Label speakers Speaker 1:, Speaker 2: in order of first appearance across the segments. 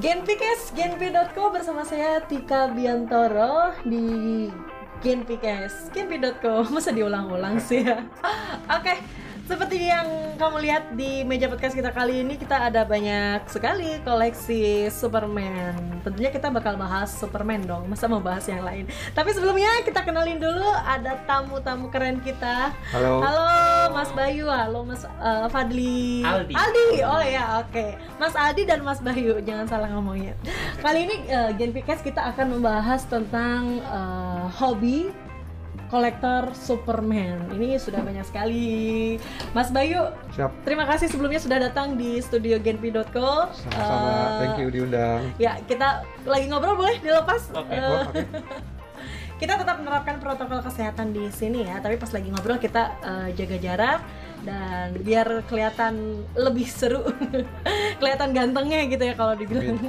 Speaker 1: Genpikes, genpi.co bersama saya Tika Biantoro di Genpikes, genpi.co. Masa diulang-ulang sih ya? Oke, seperti yang kamu lihat di meja podcast kita kali ini, kita ada banyak sekali koleksi Superman. Tentunya kita bakal bahas Superman dong, masa mau bahas yang lain. Tapi sebelumnya kita kenalin dulu ada tamu-tamu keren kita.
Speaker 2: Halo.
Speaker 1: Halo Mas Bayu, halo Mas eh, Fadli.
Speaker 3: Aldi.
Speaker 1: oh ya oke. Mas Aldi dan Mas Bayu, jangan salah ngomongnya. Kali ini eh, Gen Genpikes kita akan membahas tentang eh, hobi kolektor Superman. Ini sudah banyak sekali. Mas Bayu,
Speaker 2: Siap.
Speaker 1: terima kasih sebelumnya sudah datang di studio genpi.co.
Speaker 2: Sama-sama.
Speaker 1: Eh,
Speaker 2: Thank you diundang.
Speaker 1: Ya, kita lagi ngobrol boleh dilepas.
Speaker 3: Oke.
Speaker 1: Eh,
Speaker 2: Wah, oke.
Speaker 1: kita tetap menerapkan protokol kesehatan di sini ya tapi pas lagi ngobrol kita eh, jaga jarak dan biar kelihatan lebih seru kelihatan gantengnya gitu ya kalau dibilang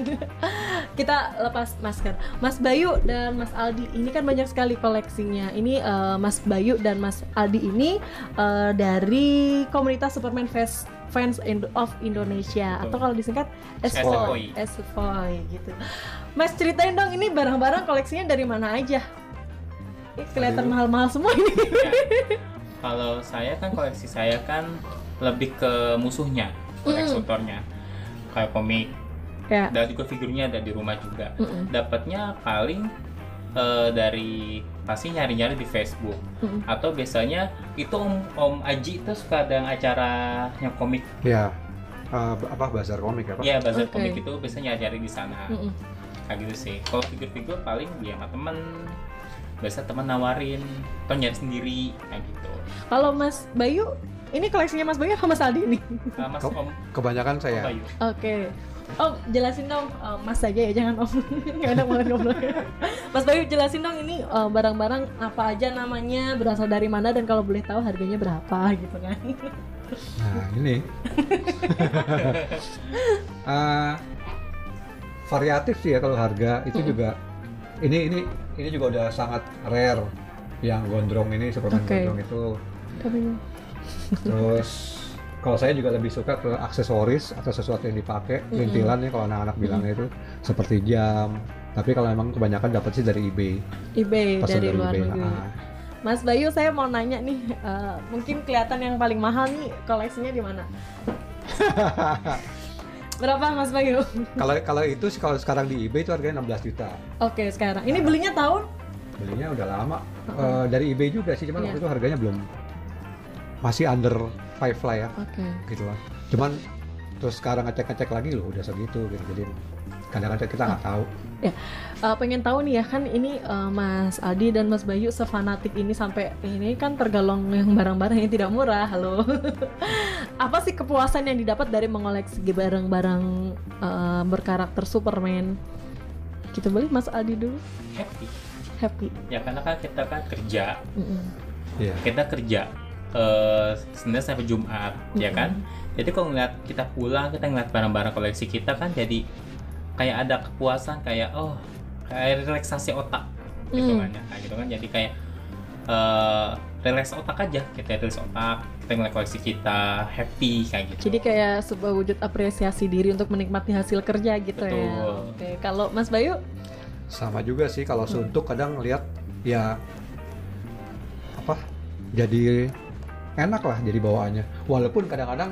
Speaker 1: kita lepas masker Mas Bayu dan Mas Aldi ini kan banyak sekali koleksinya ini eh, Mas Bayu dan Mas Aldi ini eh, dari komunitas Superman Fest Fans Indo- of Indonesia
Speaker 3: Betul.
Speaker 1: atau kalau disingkat
Speaker 3: SFOI.
Speaker 1: SFOI SFOI gitu Mas ceritain dong ini barang-barang koleksinya dari mana aja? Ih, kelihatan
Speaker 2: Aduh.
Speaker 1: mahal-mahal semua ini.
Speaker 3: Kalau saya kan koleksi saya kan lebih ke musuhnya, kolektornya. Kayak komik
Speaker 1: Ya.
Speaker 3: dan juga figurnya ada di rumah juga.
Speaker 1: Mm-mm.
Speaker 3: Dapatnya paling eh, dari pasti nyari-nyari di Facebook
Speaker 1: Mm-mm.
Speaker 3: atau biasanya itu Om Om Aji itu suka ada acaranya komik
Speaker 2: Ya. Eh, apa bazar komik apa?
Speaker 3: ya bazar
Speaker 1: Oke. Mm.
Speaker 3: komik itu biasanya nyari-nyari di sana
Speaker 1: Mm-mm.
Speaker 3: kayak gitu sih kalau figur-figur paling dia sama temen biasa temen nawarin atau nyari sendiri kayak gitu
Speaker 1: Kalau Mas Bayu, ini koleksinya Mas Bayu apa Mas Aldi ini?
Speaker 3: Eh, mas
Speaker 2: Kok-
Speaker 3: Om
Speaker 2: Kebanyakan saya.
Speaker 3: Om Bayu.
Speaker 1: Oke. Oh, jelasin dong eh, Mas aja ya, jangan Om. Nggak enak malah ngobrol. Mas Bayu jelasin dong ini eh, barang-barang apa aja namanya, berasal dari mana dan kalau boleh tahu harganya berapa gitu kan.
Speaker 2: Nah, ini. Eh, variatif sih ya kalau harga itu juga ini ini ini juga udah sangat rare yang gondrong ini Superman
Speaker 1: Oke.
Speaker 2: gondrong itu
Speaker 1: Tapi
Speaker 2: terus kalau saya juga lebih suka ke aksesoris atau sesuatu yang dipakai lintilan ya kalau anak-anak bilangnya itu seperti jam tapi kalau memang kebanyakan dapat sih dari eBay
Speaker 1: eBay
Speaker 2: pesan
Speaker 1: Iya, dari luar
Speaker 2: eBay.
Speaker 1: negeri.
Speaker 2: Ah.
Speaker 1: Mas Bayu, saya mau nanya nih, eh, mungkin kelihatan yang paling mahal nih koleksinya di mana? Berapa Mas Bayu?
Speaker 2: Kalau kalau itu sih, kalau sekarang di eBay itu harganya 16 juta.
Speaker 1: Oke, sekarang ini belinya tahun?
Speaker 2: Belinya udah lama Eh, dari eBay juga sih,
Speaker 1: Iya.
Speaker 2: cuman waktu itu harganya belum masih under five lah ya,
Speaker 1: Oke.
Speaker 2: gitu lah. Cuman terus sekarang ngecek-ngecek lagi loh udah segitu gitu. Jadi kadang-kadang kita nggak tahu.
Speaker 1: Ya, eh, pengen tahu nih ya kan ini eh, Mas Adi dan Mas Bayu sefanatik ini sampai ini kan tergolong yang barang-barang yang tidak murah, halo. Apa sih kepuasan yang didapat dari mengoleksi barang-barang eh, berkarakter Superman? Kita boleh Mas Adi dulu
Speaker 3: happy
Speaker 1: happy.
Speaker 3: ya karena kan kita kan kerja
Speaker 1: Mm-mm.
Speaker 2: Iya.
Speaker 3: kita kerja eh senin sampai jumat ya
Speaker 1: Mhm.
Speaker 3: kan jadi kalau ngeliat kita pulang kita ngeliat barang-barang koleksi kita kan jadi kayak ada kepuasan kayak oh kayak relaksasi otak gitu
Speaker 1: Mm.
Speaker 3: kan ya. Kayak gitu kan jadi kayak eh relax otak aja kita relax otak kita ngeliat koleksi kita happy kayak gitu
Speaker 1: Jadi kayak sebuah wujud apresiasi diri untuk menikmati hasil kerja gitu ya.
Speaker 3: Betul.
Speaker 1: Oke, kalau Mas Bayu,
Speaker 2: Sama juga sih
Speaker 1: Mm.
Speaker 2: kalau suntuk kadang lihat ya apa? Jadi enak lah jadi bawaannya. Walaupun kadang-kadang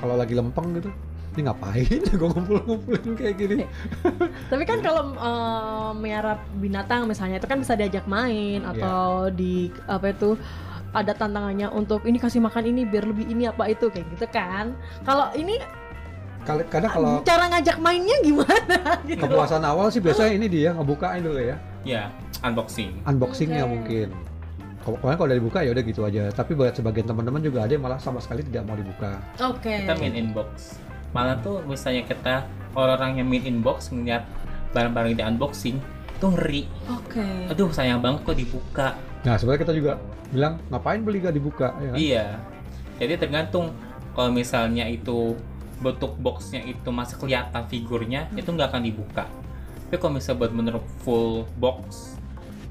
Speaker 2: kalau lagi lempeng gitu, ini ngapain gue ngumpul-ngumpulin kayak gini?
Speaker 1: tapi kan kalau eh, miara binatang misalnya itu kan bisa diajak main atau di apa itu ada tantangannya untuk ini kasih makan ini biar lebih ini apa itu kayak gitu kan. Kalau ini
Speaker 2: Kali- Kadang kalau
Speaker 1: cara ngajak mainnya gimana gitu. loh.
Speaker 2: Kepuasan awal sih biasanya ini dia ngebukain dulu ya,
Speaker 3: ya unboxing
Speaker 2: unboxingnya
Speaker 1: Oke.
Speaker 2: mungkin. Kalau kemarin kalau udah dibuka ya udah gitu aja. Tapi buat sebagian teman-teman juga ada yang malah sama sekali tidak mau dibuka.
Speaker 1: Oke.
Speaker 3: kita main inbox malah tuh misalnya kita orang yang main inbox ngeliat barang-barang yang di unboxing tuh ngeri
Speaker 1: Oke.
Speaker 3: aduh sayang banget kok dibuka
Speaker 2: Nah sebenarnya kita juga bilang ngapain beli gak dibuka ya? kan?
Speaker 3: iya jadi tergantung kalau misalnya itu bentuk boxnya itu masih kelihatan figurnya
Speaker 2: Hmm.
Speaker 3: itu nggak akan dibuka tapi kalau misalnya buat bener full box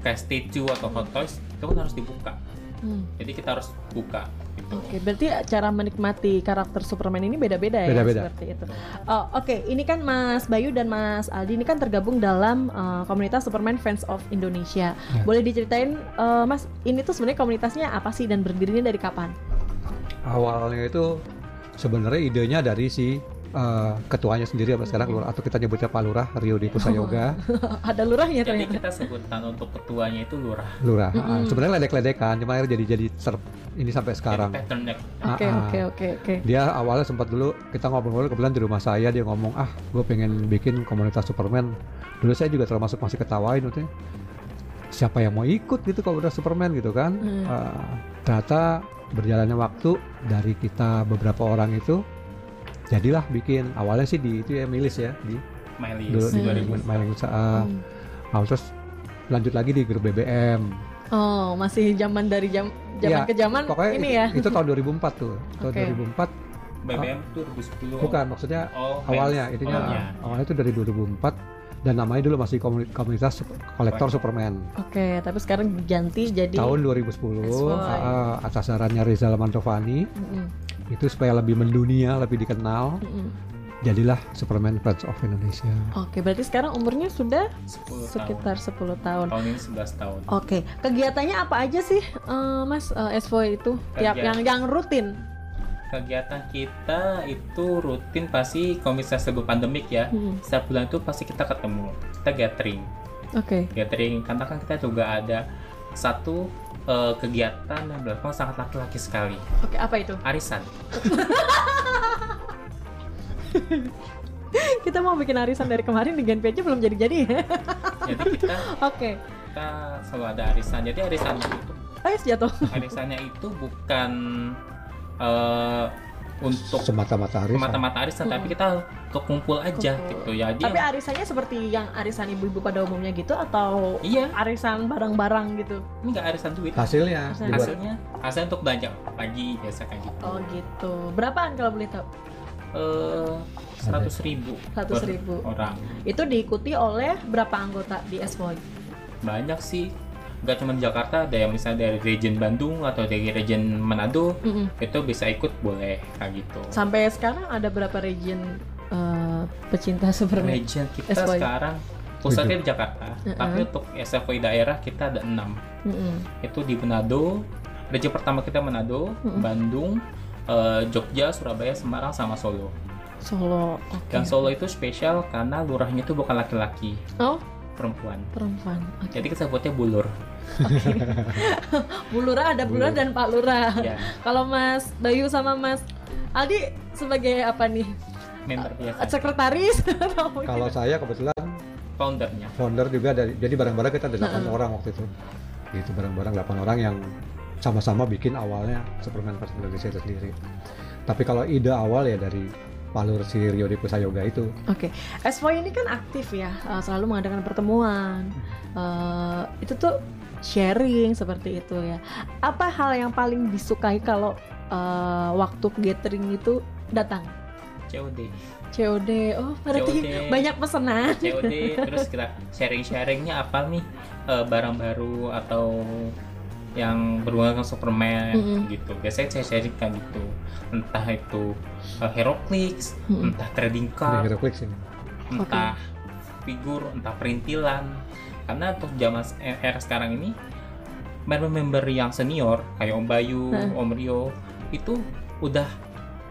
Speaker 3: kayak statue atau hot toys itu kan harus dibuka
Speaker 1: Hmm.
Speaker 3: jadi kita harus buka gitu
Speaker 1: Oke, berarti cara menikmati karakter Superman ini beda-beda ya
Speaker 2: Beda-beda.
Speaker 1: seperti itu. Oh, Oke, ini kan Mas Bayu dan Mas Aldi ini kan tergabung dalam eh, komunitas Superman Fans of Indonesia.
Speaker 2: Ya.
Speaker 1: Boleh diceritain, eh, Mas, ini tuh sebenarnya komunitasnya apa sih dan berdirinya dari kapan?
Speaker 2: awalnya itu sebenarnya idenya dari si eh, ketuanya sendiri apa sekarang lurah atau kita nyebutnya Pak Lurah Rio di Kusayoga
Speaker 1: Oh. Eh, Ada lurahnya
Speaker 3: jadi
Speaker 1: ternyata.
Speaker 3: kita sebutan untuk ketuanya itu lurah
Speaker 2: lurah
Speaker 1: Mm-mm.
Speaker 2: Ah, sebenarnya ledek-ledekan cuma akhirnya jadi jadi ser ini sampai
Speaker 3: jadi
Speaker 2: sekarang
Speaker 3: pattern neck
Speaker 1: Oke,
Speaker 2: Ah, ah.
Speaker 1: oke, oke, oke.
Speaker 2: dia awalnya sempat dulu kita ngobrol-ngobrol kebetulan di rumah saya dia ngomong ah gue pengen bikin komunitas Superman dulu saya juga termasuk masih ketawain waktu itu. siapa yang mau ikut gitu komunitas Superman gitu kan
Speaker 1: Hmm.
Speaker 2: Eh, ternyata berjalannya waktu dari kita beberapa orang itu jadilah bikin awalnya sih di itu ya milis ya di dulu
Speaker 3: Melius
Speaker 2: di
Speaker 1: Hmm.
Speaker 3: 2000
Speaker 2: Malang Usaha
Speaker 1: Hmm.
Speaker 2: Lalu terus lanjut lagi di grup BBM
Speaker 1: Oh, masih zaman dari jam zaman
Speaker 2: Ya,
Speaker 1: ke zaman
Speaker 2: pokoknya
Speaker 1: ini
Speaker 2: itu,
Speaker 1: ya.
Speaker 2: itu tahun 2004 tuh tahun
Speaker 1: Oke.
Speaker 3: BBM tuh 2010
Speaker 2: 2004 bukan maksudnya
Speaker 3: oh
Speaker 2: Oh. awalnya
Speaker 3: fans.
Speaker 2: itunya
Speaker 3: Awalnya.
Speaker 2: awalnya itu dari 2004 dan namanya dulu masih komuni- komunitas Sup- kolektor Superman
Speaker 1: Oke, tapi sekarang diganti jadi
Speaker 2: tahun 2010
Speaker 1: That's why.
Speaker 2: ah, atas sarannya Rizal Mantovani
Speaker 1: Mm-mm,
Speaker 2: itu supaya lebih mendunia lebih dikenal
Speaker 1: mm-mm.
Speaker 2: jadilah Superman Friends of Indonesia
Speaker 1: Oke, berarti sekarang umurnya sudah
Speaker 3: 10
Speaker 1: sekitar 10 tahun.
Speaker 3: tahun. tahun ini 11 tahun
Speaker 1: Oke, kegiatannya apa aja sih, eh, Mas eh, S4 itu? Tiap yang
Speaker 3: Kegiatan.
Speaker 1: yang rutin.
Speaker 3: kegiatan kita itu rutin pasti komunitas sebelum pandemik ya
Speaker 1: Mm-mm.
Speaker 3: setiap bulan itu pasti kita ketemu kita gathering
Speaker 1: Oke.
Speaker 3: gathering karena kan kita juga ada satu eh, kegiatan yang berlakukan sangat laki-laki sekali
Speaker 1: Oke, apa itu?
Speaker 3: arisan
Speaker 1: Kita mau bikin arisan dari kemarin di Genpi aja belum jadi-jadi ya.
Speaker 3: jadi kita
Speaker 1: Oke.
Speaker 3: kita selalu ada arisan jadi arisan itu
Speaker 1: Ayo jatuh.
Speaker 3: arisannya itu bukan eh, untuk
Speaker 2: semata-mata hari
Speaker 3: mata-mata arisan tapi kita kekumpul aja
Speaker 1: Hmm. Kumpul.
Speaker 3: gitu ya
Speaker 1: Iya. Tapi
Speaker 3: dia
Speaker 1: arisannya seperti yang arisan ibu-ibu pada umumnya gitu atau
Speaker 3: iya
Speaker 1: arisan barang-barang gitu?
Speaker 3: ini nggak arisan
Speaker 2: Ah,
Speaker 3: duit
Speaker 2: Nah, hasilnya
Speaker 1: Hasil-
Speaker 2: dibuat
Speaker 3: hasilnya hasilnya untuk belanja pagi biasa kayak gitu
Speaker 1: Oh gitu. Berapaan kalau boleh tahu?
Speaker 3: seratus ribu
Speaker 1: 100.000 ribu.
Speaker 3: orang
Speaker 1: Itu diikuti oleh berapa anggota di S4?
Speaker 3: banyak sih nggak cuma di Jakarta ada yang misalnya dari region Bandung atau dari region Manado
Speaker 1: Mm-mm.
Speaker 3: itu bisa ikut boleh kayak gitu
Speaker 1: Sampai sekarang ada berapa region eh, pecinta Superman?
Speaker 3: region kita
Speaker 1: SFOI.
Speaker 3: sekarang pusatnya di Jakarta
Speaker 1: Mm-mm.
Speaker 3: tapi untuk SFOI daerah kita ada enam
Speaker 1: Mm-mm.
Speaker 3: itu di Manado region pertama kita Manado
Speaker 1: Mm-mm.
Speaker 3: Bandung eh, Jogja Surabaya Semarang sama Solo
Speaker 1: Solo. Oke.
Speaker 3: dan Solo itu spesial karena lurahnya itu bukan laki-laki
Speaker 1: Oh,
Speaker 3: perempuan
Speaker 1: perempuan. Oke.
Speaker 3: jadi kita sebutnya bulur
Speaker 1: Bu Lurah ada Bu Lurah dan Pak Lurah.
Speaker 3: ya
Speaker 1: Kalau Mas Bayu sama Mas Aldi sebagai apa nih?
Speaker 3: member biasa
Speaker 1: Sekretaris atau mungkin-
Speaker 2: kalau saya kebetulan
Speaker 3: foundernya
Speaker 2: founder juga dari jadi barang-barang kita ada 8 orang waktu itu itu barang-barang 8 orang yang sama-sama bikin awalnya Superman versi Indonesia itu sendiri tapi kalau ide awal ya dari Palur si Rio di Kusayoga itu
Speaker 1: Oke, S4 ini kan aktif ya, eh, selalu mengadakan pertemuan. Eh, itu tuh sharing seperti itu ya. Apa hal yang paling disukai kalau eh, waktu gathering itu datang?
Speaker 3: COD
Speaker 1: COD. Oh, berarti
Speaker 3: COD.
Speaker 1: banyak pesanan.
Speaker 3: COD terus kita sharing-sharingnya apa nih eh, barang baru atau yang berhubungan dengan Superman
Speaker 1: Mm-mm.
Speaker 3: gitu biasanya saya sharing kan gitu entah itu eh, Heroclix
Speaker 1: Mm-mm.
Speaker 3: entah
Speaker 2: di
Speaker 3: trading card
Speaker 2: Heroclix ini
Speaker 3: entah figur entah perintilan karena untuk zaman se- era sekarang ini member-member yang senior kayak Om Bayu,
Speaker 1: Heeh.
Speaker 3: Om Rio itu udah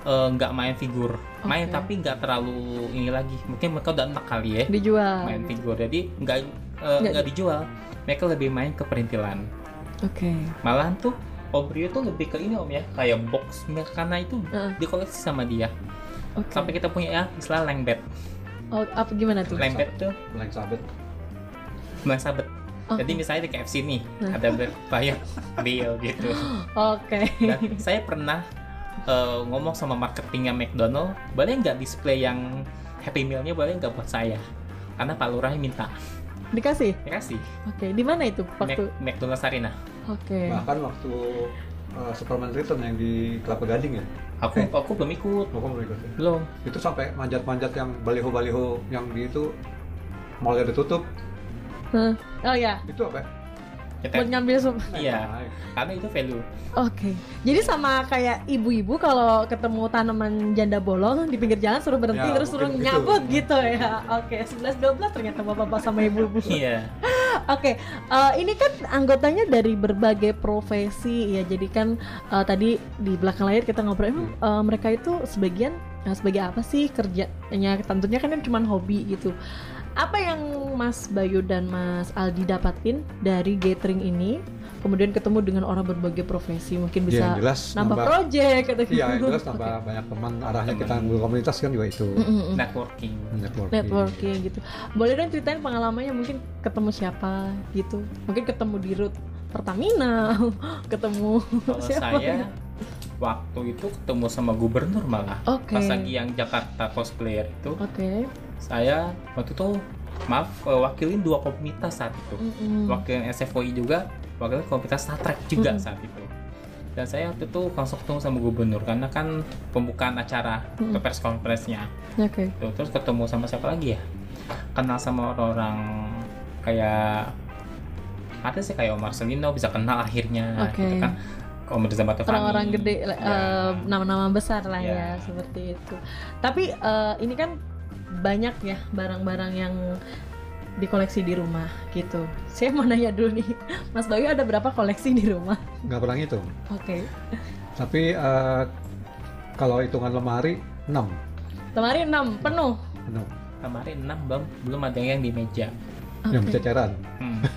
Speaker 3: eh, nggak main figur main
Speaker 1: Oke.
Speaker 3: tapi nggak terlalu ini lagi mungkin mereka udah enak kali ya
Speaker 1: Dijual. gitu.
Speaker 3: main figur jadi nggak eh,
Speaker 1: Nggak-
Speaker 3: nggak dijual mereka lebih main ke perintilan
Speaker 1: Oke.
Speaker 3: malahan tuh Om Rio tuh lebih ke ini om ya kayak box milk, karena itu
Speaker 1: Heeh.
Speaker 3: dikoleksi sama dia
Speaker 1: Oke.
Speaker 3: sampai kita punya ya istilah lengbet
Speaker 1: Oh, apa gimana tuh?
Speaker 3: lengbet tuh
Speaker 2: Blank Sabbath
Speaker 3: Bang Sabet.
Speaker 1: Oh.
Speaker 3: Jadi misalnya di KFC nih
Speaker 1: Nah.
Speaker 3: ada berbayar bill gitu.
Speaker 1: Oke.
Speaker 3: Dan saya pernah eh, ngomong sama marketingnya McDonald, boleh nggak display yang Happy Meal-nya boleh nggak buat saya? Karena Pak Lurahnya minta.
Speaker 1: Dikasih.
Speaker 3: Ya kasih.
Speaker 1: Oke, di mana itu
Speaker 3: Mac, nah.
Speaker 1: waktu?
Speaker 3: McDonald Sarina.
Speaker 1: Oke.
Speaker 2: bahkan waktu uh, Superman Return yang di Kelapa Gading ya
Speaker 3: Aku aku belum ikut.
Speaker 2: Gua kan belum ikut ya.
Speaker 3: Belum.
Speaker 2: itu sampai manjat-manjat yang baliho-baliho yang di itu mallnya ditutup
Speaker 1: Hah. Oh ya.
Speaker 2: itu apa ya? Nah,
Speaker 3: kita
Speaker 1: buat ngambil sumpah.
Speaker 3: iya karena itu value
Speaker 1: Oke. Jadi sama kayak ibu-ibu kalau ketemu tanaman janda bolong di pinggir jalan suruh berhenti
Speaker 2: Ya,
Speaker 1: terus suruh
Speaker 2: mungkin begitu.
Speaker 1: nyabut gitu ya. Oke, 11 12 ternyata bapak-bapak sama ibu-ibu.
Speaker 3: iya
Speaker 1: Oke, eh, ini kan anggotanya dari berbagai profesi ya. Jadi kan eh, tadi di belakang layar kita ngobrol emang
Speaker 2: Hmm.
Speaker 1: eh, mereka itu sebagian eh, sebagai apa sih kerjanya? Tentunya kan ini cuma hobi gitu. Apa yang Mas Bayu dan Mas Aldi dapatin dari gathering ini? Kemudian ketemu dengan orang berbagai profesi, mungkin bisa
Speaker 2: Iya, yang jelas
Speaker 1: nambah project atau
Speaker 2: iya yang
Speaker 1: gitu.
Speaker 2: jelas nambah
Speaker 1: Oke.
Speaker 2: banyak teman arahnya kita ambil komunitas kan juga itu
Speaker 1: Mm, mm, mm.
Speaker 3: networking
Speaker 2: networking,
Speaker 1: networking gitu. Boleh dong ceritain pengalamannya mungkin ketemu siapa gitu. Mungkin ketemu di root Pertamina, ketemu
Speaker 3: kalau
Speaker 1: siapa.
Speaker 3: saya waktu itu ketemu sama gubernur malah
Speaker 1: Oke.
Speaker 3: pas lagi yang Jakarta cosplayer itu
Speaker 1: Oke.
Speaker 3: saya waktu itu maaf eh, wakilin dua komunitas saat itu
Speaker 1: Mm-mm.
Speaker 3: wakil SFOI juga wakil komunitas Star Trek juga
Speaker 1: Mm.
Speaker 3: saat itu dan saya waktu itu langsung ketemu sama gubernur karena kan pembukaan acara
Speaker 1: Mm.
Speaker 3: atau press conference-nya
Speaker 1: Oke.
Speaker 3: Tuh, terus ketemu sama siapa lagi ya kenal sama orang-orang kayak ada sih kayak Omar Selino bisa kenal akhirnya
Speaker 1: Oke.
Speaker 3: gitu kan Om Reza Batovani.
Speaker 1: Orang-orang gede,
Speaker 3: Ya.
Speaker 1: le- eh, nama-nama besar lah
Speaker 3: Ya.
Speaker 1: ya seperti itu. Tapi eh, ini kan banyak ya barang-barang yang dikoleksi di rumah gitu. Saya mau nanya dulu nih, Mas Bayu ada berapa koleksi di rumah?
Speaker 2: nggak pernah ngitung
Speaker 1: Oke.
Speaker 2: tapi eh, kalau hitungan lemari 6
Speaker 1: Lemari 6 penuh.
Speaker 2: enam
Speaker 3: kemarin 6 belum belum ada yang di meja
Speaker 2: yang
Speaker 1: Oke.
Speaker 2: berceceran
Speaker 3: Hmm.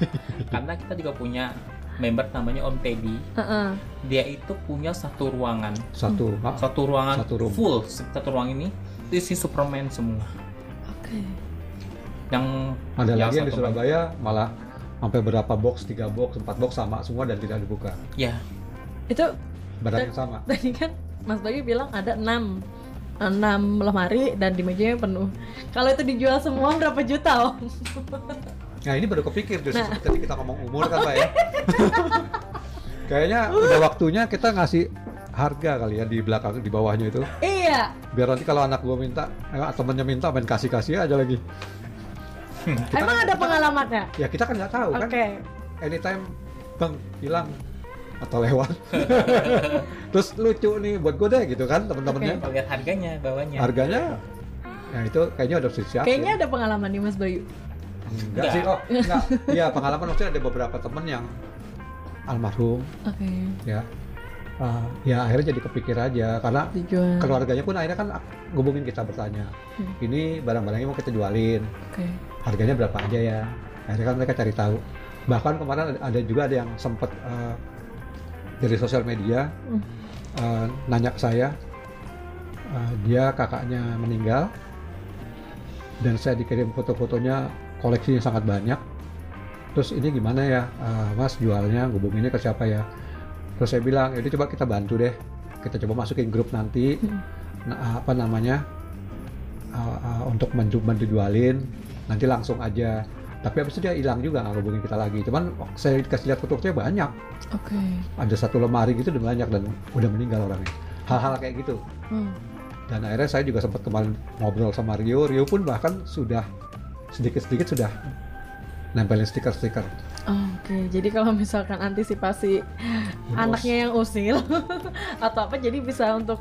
Speaker 3: Karena kita juga punya member namanya Om Teddy.
Speaker 1: Heeh.
Speaker 3: Dia itu punya satu ruangan,
Speaker 2: satu
Speaker 1: Hmm.
Speaker 2: ah,
Speaker 3: satu ruangan
Speaker 2: Satu room.
Speaker 3: full, satu ruang ini isi Superman semua.
Speaker 1: Oke.
Speaker 3: Yang
Speaker 2: ada
Speaker 3: yang
Speaker 2: lagi yang di
Speaker 3: Ya, satu lagi.
Speaker 2: Surabaya malah sampai berapa box tiga box empat box sama semua dan tidak dibuka
Speaker 3: ya
Speaker 1: Itu
Speaker 2: beratnya sama
Speaker 1: tadi kan Mas Bayu bilang ada 6 enam lemari dan di mejanya penuh. Kalau itu dijual semua berapa juta om?
Speaker 2: Nah ini baru kepikir justru tadi kita ngomong umur kan Pak ya. Kayaknya udah waktunya kita ngasih harga kali ya di belakang di bawahnya itu
Speaker 1: Iya,
Speaker 2: biar nanti kalau anak gua minta eh, temennya minta main kasih kasih aja lagi kan
Speaker 1: emang ada pengalamannya.
Speaker 2: ya kita kan nggak tahu
Speaker 1: Oke,
Speaker 2: kan anytime bang hilang atau lewat terus lucu nih buat gue deh gitu kan temen-temennya
Speaker 3: kalau lihat harganya bawahnya.
Speaker 2: harganya ya itu kayaknya udah siap
Speaker 1: kayaknya ada pengalaman nih Mas Bayu.
Speaker 2: enggak sih oh enggak iya pengalaman maksudnya ada beberapa temen yang almarhum
Speaker 1: Oke,
Speaker 2: ya Ah, ya akhirnya jadi kepikir aja karena
Speaker 1: dijual. Oke,
Speaker 2: keluarganya pun akhirnya kan ak- ngubungin kita bertanya
Speaker 1: Hmm.
Speaker 2: ini barang-barangnya mau kita jualin harganya berapa aja ya akhirnya kan mereka cari tahu bahkan kemarin ada- ada juga ada yang sempet eh, dari sosial media
Speaker 1: Hmm.
Speaker 2: eh, nanya ke saya eh, dia kakaknya meninggal dan saya dikirim foto-fotonya koleksinya sangat banyak terus ini gimana ya eh, mas jualnya hubunginnya ke siapa ya terus saya bilang jadi coba kita bantu deh kita coba masukin grup nanti
Speaker 1: Hmm.
Speaker 2: nah, apa namanya eh, eh, untuk bantu bantu jualin nanti langsung aja tapi habis itu dia hilang juga nggak hubungin kita lagi cuman saya dikasih lihat fotonya banyak
Speaker 1: oke.
Speaker 2: ada satu lemari gitu udah banyak dan udah meninggal orangnya hal-hal kayak gitu
Speaker 1: Hmm,
Speaker 2: dan akhirnya saya juga sempat kemarin ngobrol sama Rio Rio pun bahkan sudah sedikit-sedikit sudah nempelin stiker-stiker
Speaker 1: Oke, jadi kalau misalkan antisipasi anaknya yang usil atau apa, jadi bisa untuk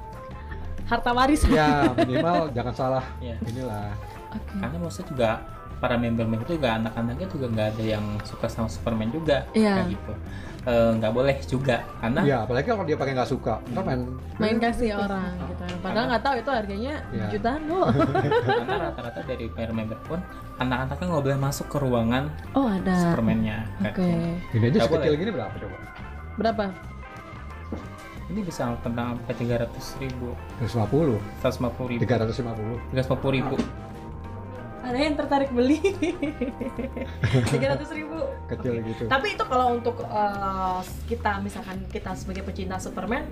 Speaker 1: harta waris. Oke.
Speaker 2: ya minimal jangan salah
Speaker 3: Ya.
Speaker 2: inilah
Speaker 3: Karena maksudnya juga para member-member itu juga anak-anaknya juga nggak ada yang suka sama Superman juga
Speaker 1: Iya.
Speaker 3: kayak gitu. Eh, nggak boleh juga karena
Speaker 2: ya apalagi kalau dia pakai nggak suka kan main
Speaker 1: Main kasih orang gitu. Padahal nggak tahu itu harganya
Speaker 2: Ya.
Speaker 1: jutaan loh.
Speaker 3: karena rata-rata dari member-member pun anak-anaknya nggak boleh masuk ke ruangan
Speaker 1: Oh ada.
Speaker 3: Superman-nya. gitu.
Speaker 1: Oke.
Speaker 2: ini aja
Speaker 3: Nggak
Speaker 2: sekecil
Speaker 3: boleh.
Speaker 2: gini berapa coba
Speaker 1: Berapa?
Speaker 3: Ini bisa tentang sampai tiga ratus ribu,
Speaker 2: 150
Speaker 3: seratus lima puluh ribu,
Speaker 2: 350
Speaker 3: tiga ribu.
Speaker 1: Ada yang tertarik beli? 300 ribu.
Speaker 2: kecil gitu
Speaker 1: Tapi itu kalau untuk eh, kita misalkan kita sebagai pecinta Superman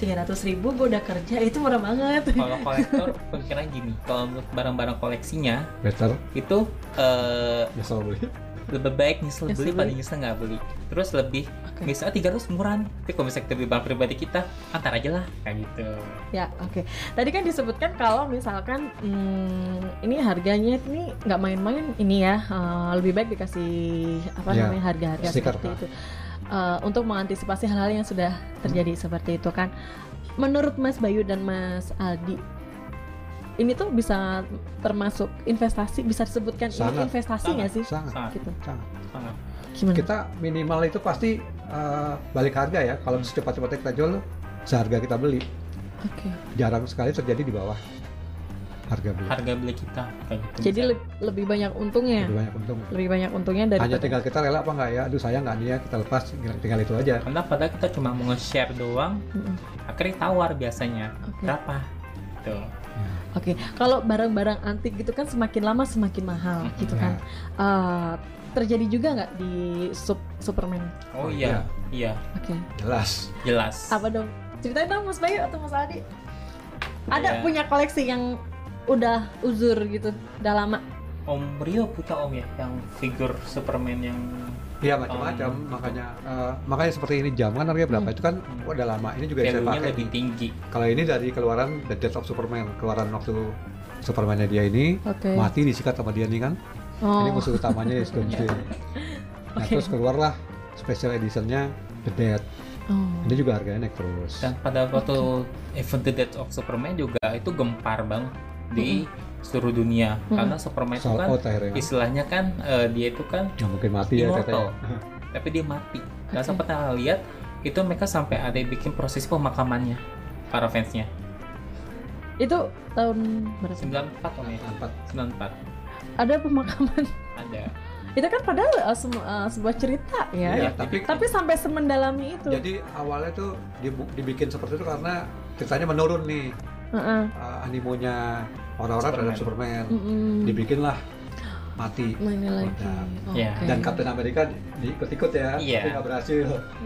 Speaker 1: 300 ribu gue udah kerja itu murah banget.
Speaker 2: Oh.
Speaker 3: Kalau kolektor pikiran gini, kalau untuk barang-barang koleksinya
Speaker 2: better
Speaker 3: itu eh,
Speaker 1: Iya
Speaker 2: ya selalu beli
Speaker 3: lebih baik nyesel
Speaker 1: Nyesel
Speaker 3: beli
Speaker 1: beli.
Speaker 3: pada nyesel nggak beli terus lebih
Speaker 1: Oke.
Speaker 3: misalnya tiga ratus murah nih tapi kalau misalnya kita beli barang pribadi kita antar aja lah kayak gitu
Speaker 1: Ya, oke. Tadi kan disebutkan kalau misalkan hmm, ini harganya ini nggak main-main ini ya, eh, lebih baik dikasih apa
Speaker 2: Ya,
Speaker 1: namanya harga-harga
Speaker 2: stiker.
Speaker 1: seperti itu Eh, untuk mengantisipasi hal-hal yang sudah terjadi
Speaker 2: Hmm.
Speaker 1: seperti itu kan. Menurut Mas Bayu dan Mas Aldi, ini tuh bisa termasuk investasi, bisa disebutkan ini
Speaker 2: Sangat.
Speaker 1: investasi
Speaker 3: Sangat.
Speaker 1: nggak sih?
Speaker 2: sangat
Speaker 3: sangat
Speaker 1: Gitu.
Speaker 2: sangat
Speaker 3: sangat
Speaker 1: Gimana?
Speaker 2: kita minimal itu pasti eh, balik harga ya
Speaker 1: Hmm.
Speaker 2: kalau secepat-cepatnya kita jual seharga kita beli
Speaker 1: Oke.
Speaker 2: jarang sekali terjadi di bawah harga beli
Speaker 3: harga beli kita kayak gitu
Speaker 1: Jadi
Speaker 3: Misalnya,
Speaker 1: le- lebih banyak untungnya, ya?
Speaker 2: lebih banyak untung
Speaker 1: lebih banyak untungnya dari
Speaker 2: hanya tinggal kita rela apa nggak ya aduh saya nggak nih ya kita lepas tinggal, tinggal itu aja
Speaker 3: karena padahal kita cuma mau nge-share doang akhirnya tawar biasanya
Speaker 1: Ya.
Speaker 3: berapa gitu
Speaker 1: Oke, kalau barang-barang antik gitu kan semakin lama semakin mahal
Speaker 3: Mhm.
Speaker 2: ya.
Speaker 1: gitu kan. Eh, terjadi juga nggak di sub- Superman?
Speaker 3: oh iya iya
Speaker 1: Oke,
Speaker 2: jelas
Speaker 3: jelas
Speaker 1: apa dong? Ceritain dong Mas Bayu atau Mas Adi. Ada
Speaker 2: Ya.
Speaker 3: Iya.
Speaker 1: punya koleksi yang udah uzur gitu, udah lama.
Speaker 3: Om Rio punya Om ya yang figur Superman yang
Speaker 2: Iya macam-macam
Speaker 3: Um,
Speaker 2: makanya eh, makanya seperti ini jam kan harganya berapa
Speaker 1: Hmm.
Speaker 2: itu kan udah lama ini juga saya
Speaker 3: value-nya
Speaker 2: pakai
Speaker 3: lebih tinggi
Speaker 2: kalau ini dari keluaran The Death of Superman keluaran waktu Supermannya dia ini
Speaker 1: Oke.
Speaker 2: mati disikat sama dia nih kan
Speaker 1: Oh,
Speaker 2: ini musuh utamanya ya Doomsday nah
Speaker 1: Oke.
Speaker 2: terus keluarlah special editionnya The Death
Speaker 1: oh.
Speaker 2: ini juga harganya naik terus
Speaker 3: dan pada waktu event The Death of Superman juga itu gempar banget di seluruh dunia
Speaker 1: Mm-mm.
Speaker 3: karena Superman itu
Speaker 2: sold
Speaker 3: kan
Speaker 2: out akhirnya kan
Speaker 3: istilahnya kan eh, dia itu kan
Speaker 2: Ya, mungkin mati ya
Speaker 3: immortal
Speaker 2: katanya
Speaker 3: tapi dia mati dan
Speaker 1: Oke.
Speaker 3: sempat pernah lihat itu mereka sampai ada yang bikin prosesi pemakamannya para fansnya
Speaker 1: itu tahun berapa?
Speaker 3: 94 Om ya
Speaker 2: Empat.
Speaker 3: 94
Speaker 1: Ada pemakaman.
Speaker 3: ada
Speaker 1: Itu kan padahal eh, sem- eh, sebuah cerita ya.
Speaker 2: Iya,
Speaker 3: ya,
Speaker 2: tapi
Speaker 1: Tapi sampai semendalami itu.
Speaker 2: jadi awalnya tuh dibu- dibikin seperti itu karena ceritanya menurun nih
Speaker 1: Heeh.
Speaker 2: eh, animonya orang-orang terhadap Superman
Speaker 1: Mm-mm.
Speaker 2: dibikinlah mati
Speaker 1: Mana lagi?
Speaker 2: Produk.
Speaker 3: Ya.
Speaker 1: Oke.
Speaker 2: Iya. dan Captain America di- diikut-ikut ya
Speaker 3: Iya.
Speaker 2: tapi nggak berhasil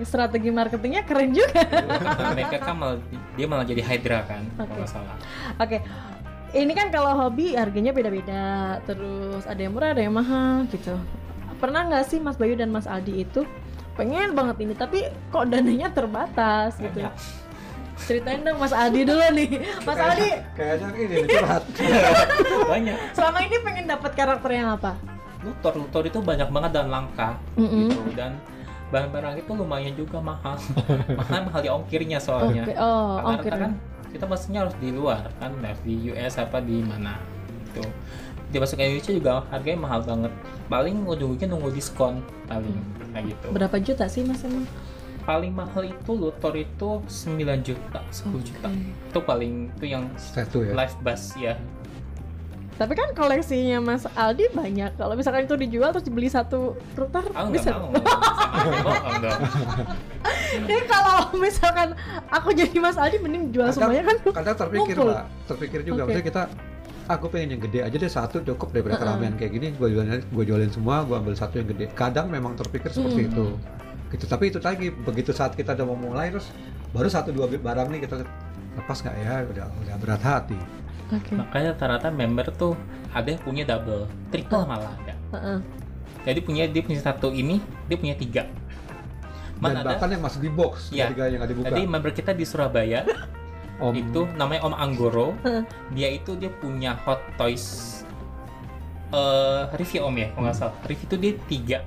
Speaker 1: strategi marketingnya keren juga.
Speaker 3: Karena mereka kan mal- dia malah jadi Hydra kan
Speaker 1: Oke.
Speaker 3: kalau nggak salah
Speaker 1: Oke. Ini kan kalau hobi harganya beda-beda, terus ada yang murah, ada yang mahal gitu. Pernah nggak sih Mas Bayu dan Mas Aldi itu pengen banget ini, tapi kok dananya terbatas gitu?
Speaker 3: Banyak.
Speaker 1: Ceritain dong Mas Aldi dulu nih. Mas
Speaker 2: Kayaknya-
Speaker 1: Aldi,
Speaker 2: kayaknya ini nih, curhat
Speaker 3: banyak
Speaker 1: selama ini pengen dapat karakter yang apa?
Speaker 3: Luthor Luthor itu banyak banget dan langka
Speaker 1: Mm-mm.
Speaker 3: gitu dan barang-barang itu lumayan juga mahal mahal mahal di ongkirnya
Speaker 1: Oke,
Speaker 3: soalnya
Speaker 1: oh,
Speaker 3: Karena
Speaker 1: oke.
Speaker 3: iya. kan kita pastinya harus di luar kan harus di US apa di mana gitu dia masuk ke Indonesia juga harganya mahal banget paling ujung-ujungnya nunggu diskon paling kayak gitu
Speaker 1: Berapa juta sih Mas emang?
Speaker 3: paling mahal itu Luthor itu 9 juta 10 juta
Speaker 1: Oke.
Speaker 3: itu paling itu yang
Speaker 2: satu ya
Speaker 3: live bus ya
Speaker 1: Tapi kan koleksinya Mas Aldi banyak. Kalau misalkan itu dijual terus dibeli satu router,
Speaker 3: aku nggak
Speaker 1: bisa
Speaker 3: mau Sama bohong dong.
Speaker 1: Jadi Eh, kalau misalkan aku jadi Mas Aldi mending jual semuanya kan
Speaker 2: kadang terpikir
Speaker 1: Ngumpul.
Speaker 2: mbak terpikir juga
Speaker 1: Oke.
Speaker 2: maksudnya kita aku pengen yang gede aja deh satu cukup daripada
Speaker 1: Uh-uh.
Speaker 2: keramaian kayak gini gue jualin gue jualin semua gue ambil satu yang gede kadang memang terpikir seperti
Speaker 1: Hmm.
Speaker 2: itu gitu tapi itu lagi begitu saat kita udah mau mulai terus baru satu dua barang nih kita lepas nggak ya udah udah berat hati
Speaker 1: Oke.
Speaker 2: Nah.
Speaker 3: makanya rata-rata member tuh ada yang punya double triple malah ada
Speaker 1: Heeh.
Speaker 3: jadi punya dia punya satu ini dia punya tiga
Speaker 2: dan
Speaker 3: mana ada
Speaker 2: bahkan yang masuk di box
Speaker 3: Iya.
Speaker 2: harga yang nggak dibuka
Speaker 3: tadi member kita di Surabaya
Speaker 2: om
Speaker 3: itu namanya Om Anggoro
Speaker 1: Heeh.
Speaker 3: dia itu dia punya Hot Toys eh review Om ya kalau
Speaker 2: Hmm.
Speaker 3: nggak salah review itu dia tiga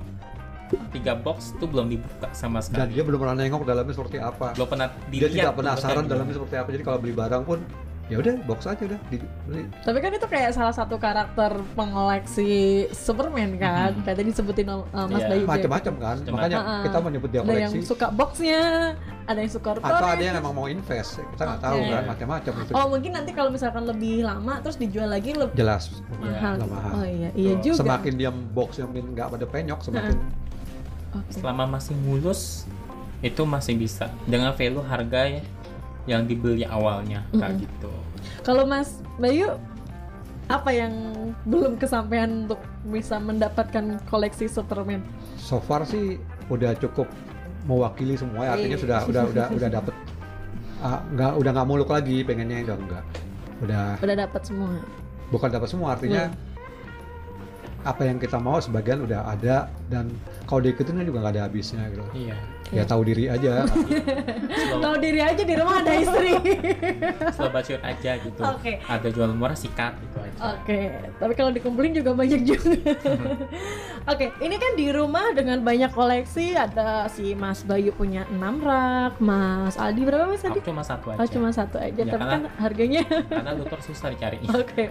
Speaker 3: tiga box itu belum dibuka
Speaker 2: dan
Speaker 3: sama sekali
Speaker 2: dia belum pernah nengok dalamnya seperti apa
Speaker 3: belum pernah
Speaker 2: dia
Speaker 3: dilihat gitu.
Speaker 2: tidak
Speaker 3: belum
Speaker 2: penasaran
Speaker 3: pernah
Speaker 2: dalamnya seperti apa jadi kalau beli barang pun ya udah box aja udah dibeli
Speaker 1: Tapi kan itu kayak salah satu karakter pengoleksi Superman kan.
Speaker 3: Mhm.
Speaker 1: Kayak tadi sebutin uh, Mas
Speaker 3: Iya.
Speaker 1: Bayu. juga.
Speaker 2: Mm-hmm. macam-macam kan
Speaker 3: Macam-macam.
Speaker 2: makanya
Speaker 1: Ah, ah.
Speaker 2: kita menyebut dia
Speaker 1: Ada yang
Speaker 2: koleksi
Speaker 1: suka boxnya, ada yang suka
Speaker 2: atau
Speaker 1: routernya.
Speaker 2: ada yang emang mau invest kita nggak tahu
Speaker 1: Oke.
Speaker 2: kan macam-macam itu
Speaker 1: Oh mungkin nanti kalau misalkan lebih lama terus dijual lagi lebih
Speaker 2: jelas
Speaker 3: Iya,
Speaker 1: mahal.
Speaker 2: nggak
Speaker 1: gitu.
Speaker 2: mahal.
Speaker 1: Oh iya, iya
Speaker 3: Betul.
Speaker 1: juga.
Speaker 2: semakin dia box yang min- nggak pada penyok semakin
Speaker 1: Oke.
Speaker 3: selama masih mulus itu masih bisa dengan value harga ya yang dibeli awalnya kayak
Speaker 1: Mm-mm.
Speaker 3: gitu
Speaker 1: Kalau Mas Bayu apa yang belum kesampaian untuk bisa mendapatkan koleksi Superman?
Speaker 2: so far sih udah cukup mewakili semua ya. artinya
Speaker 1: Iya.
Speaker 2: sudah udah udah udah dapet Ah, nggak udah nggak muluk lagi pengennya udah enggak udah
Speaker 1: Udah dapat semua. Iya.
Speaker 2: bukan dapat semua artinya apa yang kita mau sebagian udah ada dan kalau diikutin kan juga nggak ada habisnya gitu
Speaker 3: iya
Speaker 2: ya tahu diri aja
Speaker 1: Tahu diri aja di rumah ada istri.
Speaker 3: slow budget aja gitu
Speaker 1: Oke. Oh,
Speaker 3: ada jual murah sikat gitu aja
Speaker 1: Oke, tapi kalau dikumpulin juga banyak juga. Oke, ini kan di rumah dengan banyak koleksi ada si Mas Bayu punya 6 rak, Mas Aldi berapa Mas
Speaker 3: aku
Speaker 1: Aldi?
Speaker 3: cuma satu aja
Speaker 1: Oh, cuma satu aja,
Speaker 3: Ya,
Speaker 1: tapi kan
Speaker 3: karena-
Speaker 1: harganya
Speaker 3: karena dokter susah dicari
Speaker 1: Oke.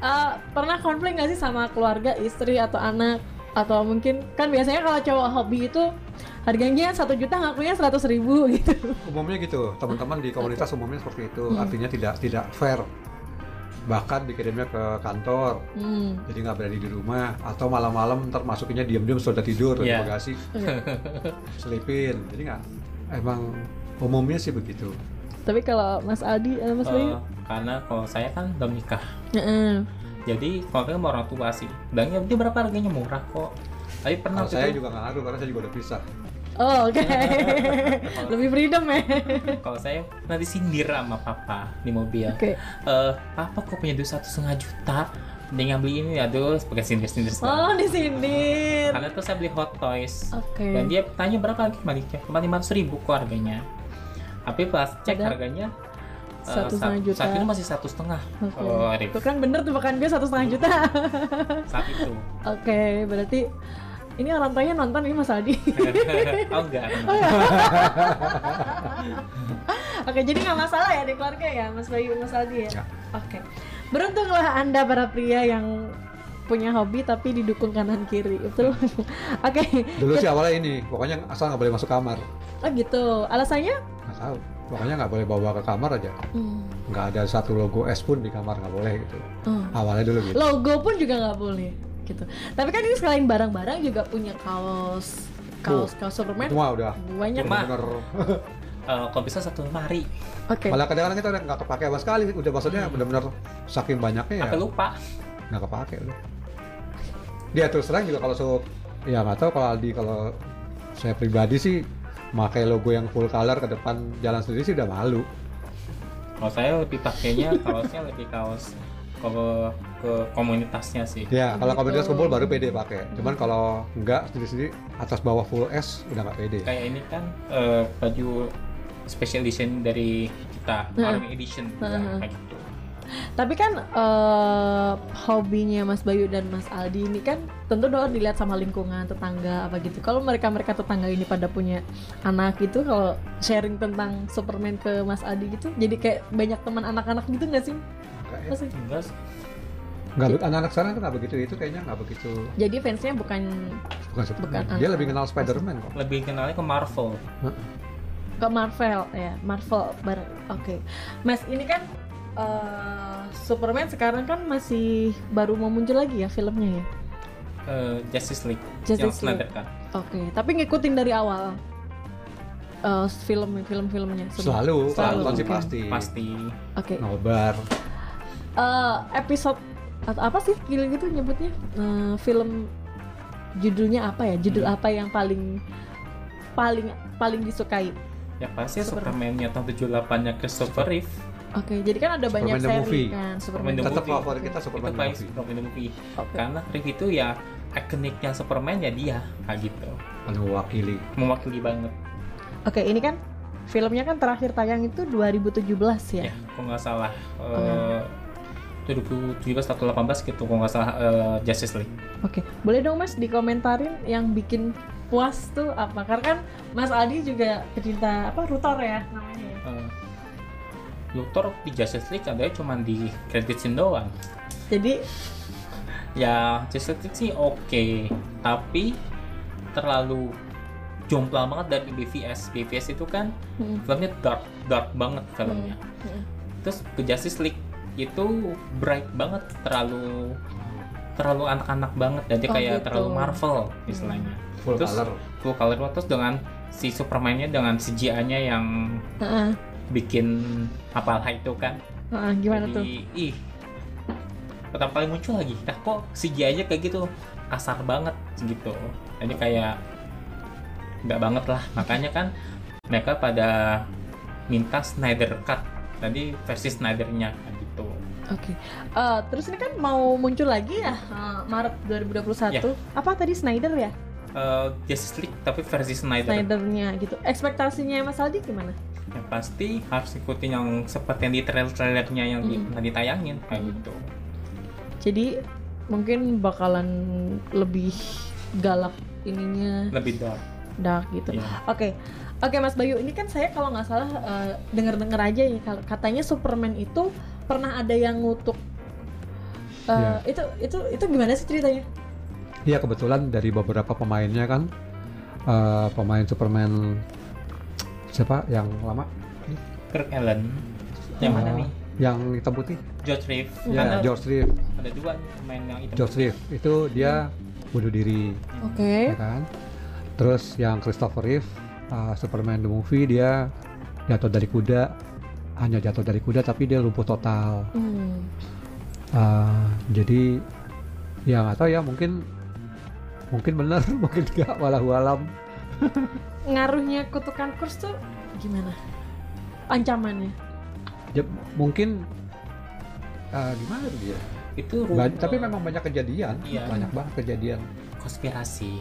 Speaker 1: Eh, pernah konflik nggak sih sama keluarga, istri atau anak? Atau mungkin kan biasanya kalau cowok hobi itu harganya satu juta ngakunya seratus ribu gitu.
Speaker 2: umumnya gitu teman-teman di komunitas umumnya seperti itu
Speaker 1: Hmm.
Speaker 2: artinya tidak tidak fair bahkan dikirimnya ke kantor
Speaker 1: Hmm.
Speaker 2: jadi nggak berani di rumah atau malam-malam ntar masukinnya diam-diam sudah tidur yeah.
Speaker 3: Iya.
Speaker 2: bagasi selipin jadi nggak emang umumnya sih begitu
Speaker 1: Tapi kalau Mas Aldi, eh, Mas Bayu,
Speaker 3: Eh, karena kalau saya kan belum nikah
Speaker 1: Heeh.
Speaker 3: jadi konflik sama orang tua sih bilangnya dia berapa harganya murah kok tapi
Speaker 2: kalau
Speaker 3: pernah
Speaker 2: saya
Speaker 3: waktu itu-
Speaker 2: juga nggak ngaruh karena saya juga udah pisah
Speaker 1: oh, oke, lebih freedom ya.
Speaker 3: kalau saya nanti sindir sama papa di mobil
Speaker 1: Oke.
Speaker 3: Eh, papa kok punya duit satu setengah juta dia yang beli ini aduh pakai sindir sindir
Speaker 1: Oh, disindir.
Speaker 3: karena tuh saya beli hot toys
Speaker 1: Oke.
Speaker 3: dan dia tanya berapa lagi kembali cuma lima ribu kok harganya tapi pas cek
Speaker 1: Padahal
Speaker 3: harganya eh,
Speaker 1: satu
Speaker 3: sa-
Speaker 1: setengah juta.
Speaker 3: saat itu masih satu setengah
Speaker 1: Oke.
Speaker 3: kalau Arif
Speaker 1: Itu kan bener tuh makan gue satu setengah juta.
Speaker 3: saat itu
Speaker 1: Oke, berarti ini orang tuanya nonton ini Mas Aldi.
Speaker 3: oh enggak
Speaker 1: iya. Oke, jadi nggak masalah ya di keluarga ya, Mas Bayu, Mas Aldi ya.
Speaker 2: Nggak.
Speaker 1: Oke, beruntunglah anda para pria yang punya hobi tapi didukung kanan kiri, betul. Oke,
Speaker 2: dulu sih awalnya ini pokoknya asal nggak boleh masuk kamar
Speaker 1: oh gitu. Alasannya?
Speaker 2: nggak tahu pokoknya nggak boleh bawa ke kamar aja
Speaker 1: Hmm,
Speaker 2: nggak ada satu logo S pun di kamar nggak boleh gitu
Speaker 1: oh.
Speaker 2: awalnya dulu gitu
Speaker 1: Logo pun juga nggak boleh, gitu. Tapi kan ini sekalian barang-barang juga punya kaos, kaos, kaos Superman
Speaker 2: semua udah
Speaker 1: banyak.
Speaker 3: Cuma-
Speaker 2: bener
Speaker 3: Eh, kalau bisa satu lemari
Speaker 1: Oke.
Speaker 2: malah kadang-kadang kita udah nggak kepake sama sekali udah maksudnya bener-bener saking banyaknya ya
Speaker 3: apa lupa
Speaker 2: nggak kepake udah dia terus terang juga kalau so ya nggak tahu kalau Aldi kalau saya pribadi sih pakai logo yang full color ke depan jalan sendiri sih udah malu
Speaker 3: kalau saya lebih pakainya kaosnya lebih kaos ke, ke komunitasnya sih
Speaker 2: ya kalau
Speaker 1: Gitu.
Speaker 2: komunitas kumpul baru pede pakai cuman kalau nggak sendiri-sendiri atas bawah full S udah nggak pede
Speaker 3: kayak ini kan eh, baju special edition dari kita
Speaker 1: Heeh.
Speaker 3: Army edition juga,
Speaker 1: Heeh.
Speaker 3: kayak gitu
Speaker 1: Tapi kan eh, hobinya Mas Bayu dan Mas Aldi ini kan tentu dong dilihat sama lingkungan tetangga apa gitu. Kalau mereka-mereka tetangga ini pada punya anak gitu, kalau sharing tentang Superman ke Mas Aldi gitu, jadi kayak banyak teman anak-anak gitu nggak sih?
Speaker 2: Kayak-
Speaker 1: Mas?
Speaker 3: Enggak sih.
Speaker 2: ya. nggak be- anak-anak sekarang tuh nggak begitu itu kayaknya nggak begitu
Speaker 1: Jadi fansnya bukan
Speaker 2: bukan,
Speaker 1: Bukan
Speaker 2: Superman. dia
Speaker 1: anak-anak.
Speaker 2: lebih kenal Spiderman kok
Speaker 3: lebih kenalnya ke Marvel
Speaker 1: ke Marvel ya, Marvel bareng. Oke, Mas ini kan eh, Superman sekarang kan masih baru mau muncul lagi ya filmnya ya.
Speaker 3: eh, Justice League yang
Speaker 1: Justice
Speaker 3: Snyder kan.
Speaker 1: League.
Speaker 3: Cut.
Speaker 1: Oke, tapi ngikutin dari awal eh, film film-filmnya sebelum-
Speaker 2: selalu kalau
Speaker 3: Selalu.
Speaker 2: nonton sih
Speaker 1: Oke.
Speaker 2: pasti
Speaker 3: pasti
Speaker 1: Oke,
Speaker 2: nobar
Speaker 1: Eh, episode atau apa sih gila gitu nyebutnya Eh, film judulnya apa ya? Judul
Speaker 2: Hmm.
Speaker 1: apa yang paling paling paling disukai?
Speaker 3: ya pasti
Speaker 1: Superman.
Speaker 3: Superman-nya tahun 78 nya Christopher Reeve
Speaker 1: Oke, jadi kan ada banyak
Speaker 2: Superman the
Speaker 1: seri
Speaker 2: movie.
Speaker 1: kan
Speaker 3: Superman the
Speaker 2: tetap
Speaker 3: movie.
Speaker 2: favorit kita
Speaker 3: itu
Speaker 2: Superman
Speaker 3: paling
Speaker 2: movie.
Speaker 3: Superman the movie
Speaker 1: Oke.
Speaker 3: karena Reeve itu ya ikoniknya Superman ya dia kayak gitu
Speaker 2: mewakili
Speaker 3: mewakili banget
Speaker 1: Oke, ini kan filmnya kan terakhir tayang itu 2017 ya.
Speaker 3: ya kalau nggak salah eh, 2017 atau 18 gitu kalau nggak salah eh, Justice League
Speaker 1: Oke, boleh dong Mas dikomentarin yang bikin puas tuh apa? Karena kan Mas Aldi juga pecinta apa Rutor ya namanya. ya?
Speaker 3: Eh, Luthor di Justice League adanya cuma di credit scene doang
Speaker 1: Jadi
Speaker 3: ya Justice League sih oke tapi terlalu jomplang banget dari BVS BVS itu kan
Speaker 1: Mm,
Speaker 3: filmnya dark dark banget filmnya
Speaker 1: mm.
Speaker 3: terus ke Justice League itu bright banget terlalu terlalu anak-anak banget jadi
Speaker 1: Oh,
Speaker 3: kayak
Speaker 1: gitu. Hmm.
Speaker 3: terlalu Marvel istilahnya
Speaker 2: full
Speaker 3: Terus-
Speaker 2: color
Speaker 3: full color banget. terus dengan si Superman-nya dengan CGI-nya yang
Speaker 1: Heeh,
Speaker 3: bikin apalah itu kan
Speaker 1: heeh, gimana tuh?
Speaker 3: jadi ih pertama kali muncul lagi nah kok CGI aja kayak gitu kasar banget gitu jadi kayak nggak banget lah makanya kan mereka pada minta Snyder Cut tadi versi Snydernya kan gitu
Speaker 1: Oke. Eh, terus ini kan mau muncul lagi ya eh, Maret 2021.
Speaker 3: Ya.
Speaker 1: Apa tadi Snyder ya?
Speaker 3: Eh, Justice League tapi versi Snyder.
Speaker 1: Snydernya gitu. Ekspektasinya Mas Aldi gimana?
Speaker 3: yang pasti harus ikutin yang seperti yang di trailer trailernya yang di,
Speaker 1: Mm.
Speaker 3: pernah ditayangin kayak gitu
Speaker 1: Jadi mungkin bakalan lebih galak ininya
Speaker 3: lebih dark
Speaker 1: dark gitu.
Speaker 3: ya.
Speaker 1: Oke, oke Mas Bayu, ini kan saya kalau nggak salah eh, dengar-dengar aja ya kalau katanya Superman itu pernah ada yang ngutuk. Eh,
Speaker 2: Iya.
Speaker 3: Ya.
Speaker 1: Itu itu itu gimana sih ceritanya?
Speaker 2: Iya kebetulan dari beberapa pemainnya kan eh, pemain Superman siapa yang lama
Speaker 3: Kirk Allen yang mana
Speaker 2: Eh,
Speaker 3: nih
Speaker 2: Yang hitam putih?
Speaker 3: George Reeves
Speaker 2: Ya
Speaker 3: ada,
Speaker 2: George Reeves.
Speaker 3: ada dua nih pemain yang hitam
Speaker 2: George Reeves itu dia bunuh diri, ya
Speaker 1: Oke.
Speaker 2: kan? Terus yang Christopher Reeve eh, Superman the movie dia jatuh dari kuda hanya jatuh dari kuda tapi dia lumpuh total.
Speaker 1: Hmm.
Speaker 2: Eh, jadi ya nggak tahu ya mungkin mungkin bener mungkin nggak walau alam
Speaker 1: Ngaruhnya kutukan kurs tuh gimana? Ancamannya?
Speaker 2: Ya, mungkin eh, gimana tuh dia?
Speaker 3: itu ru-
Speaker 2: Ba- tapi memang banyak kejadian,
Speaker 3: Oh. Iya.
Speaker 2: banyak banget kejadian.
Speaker 3: konspirasi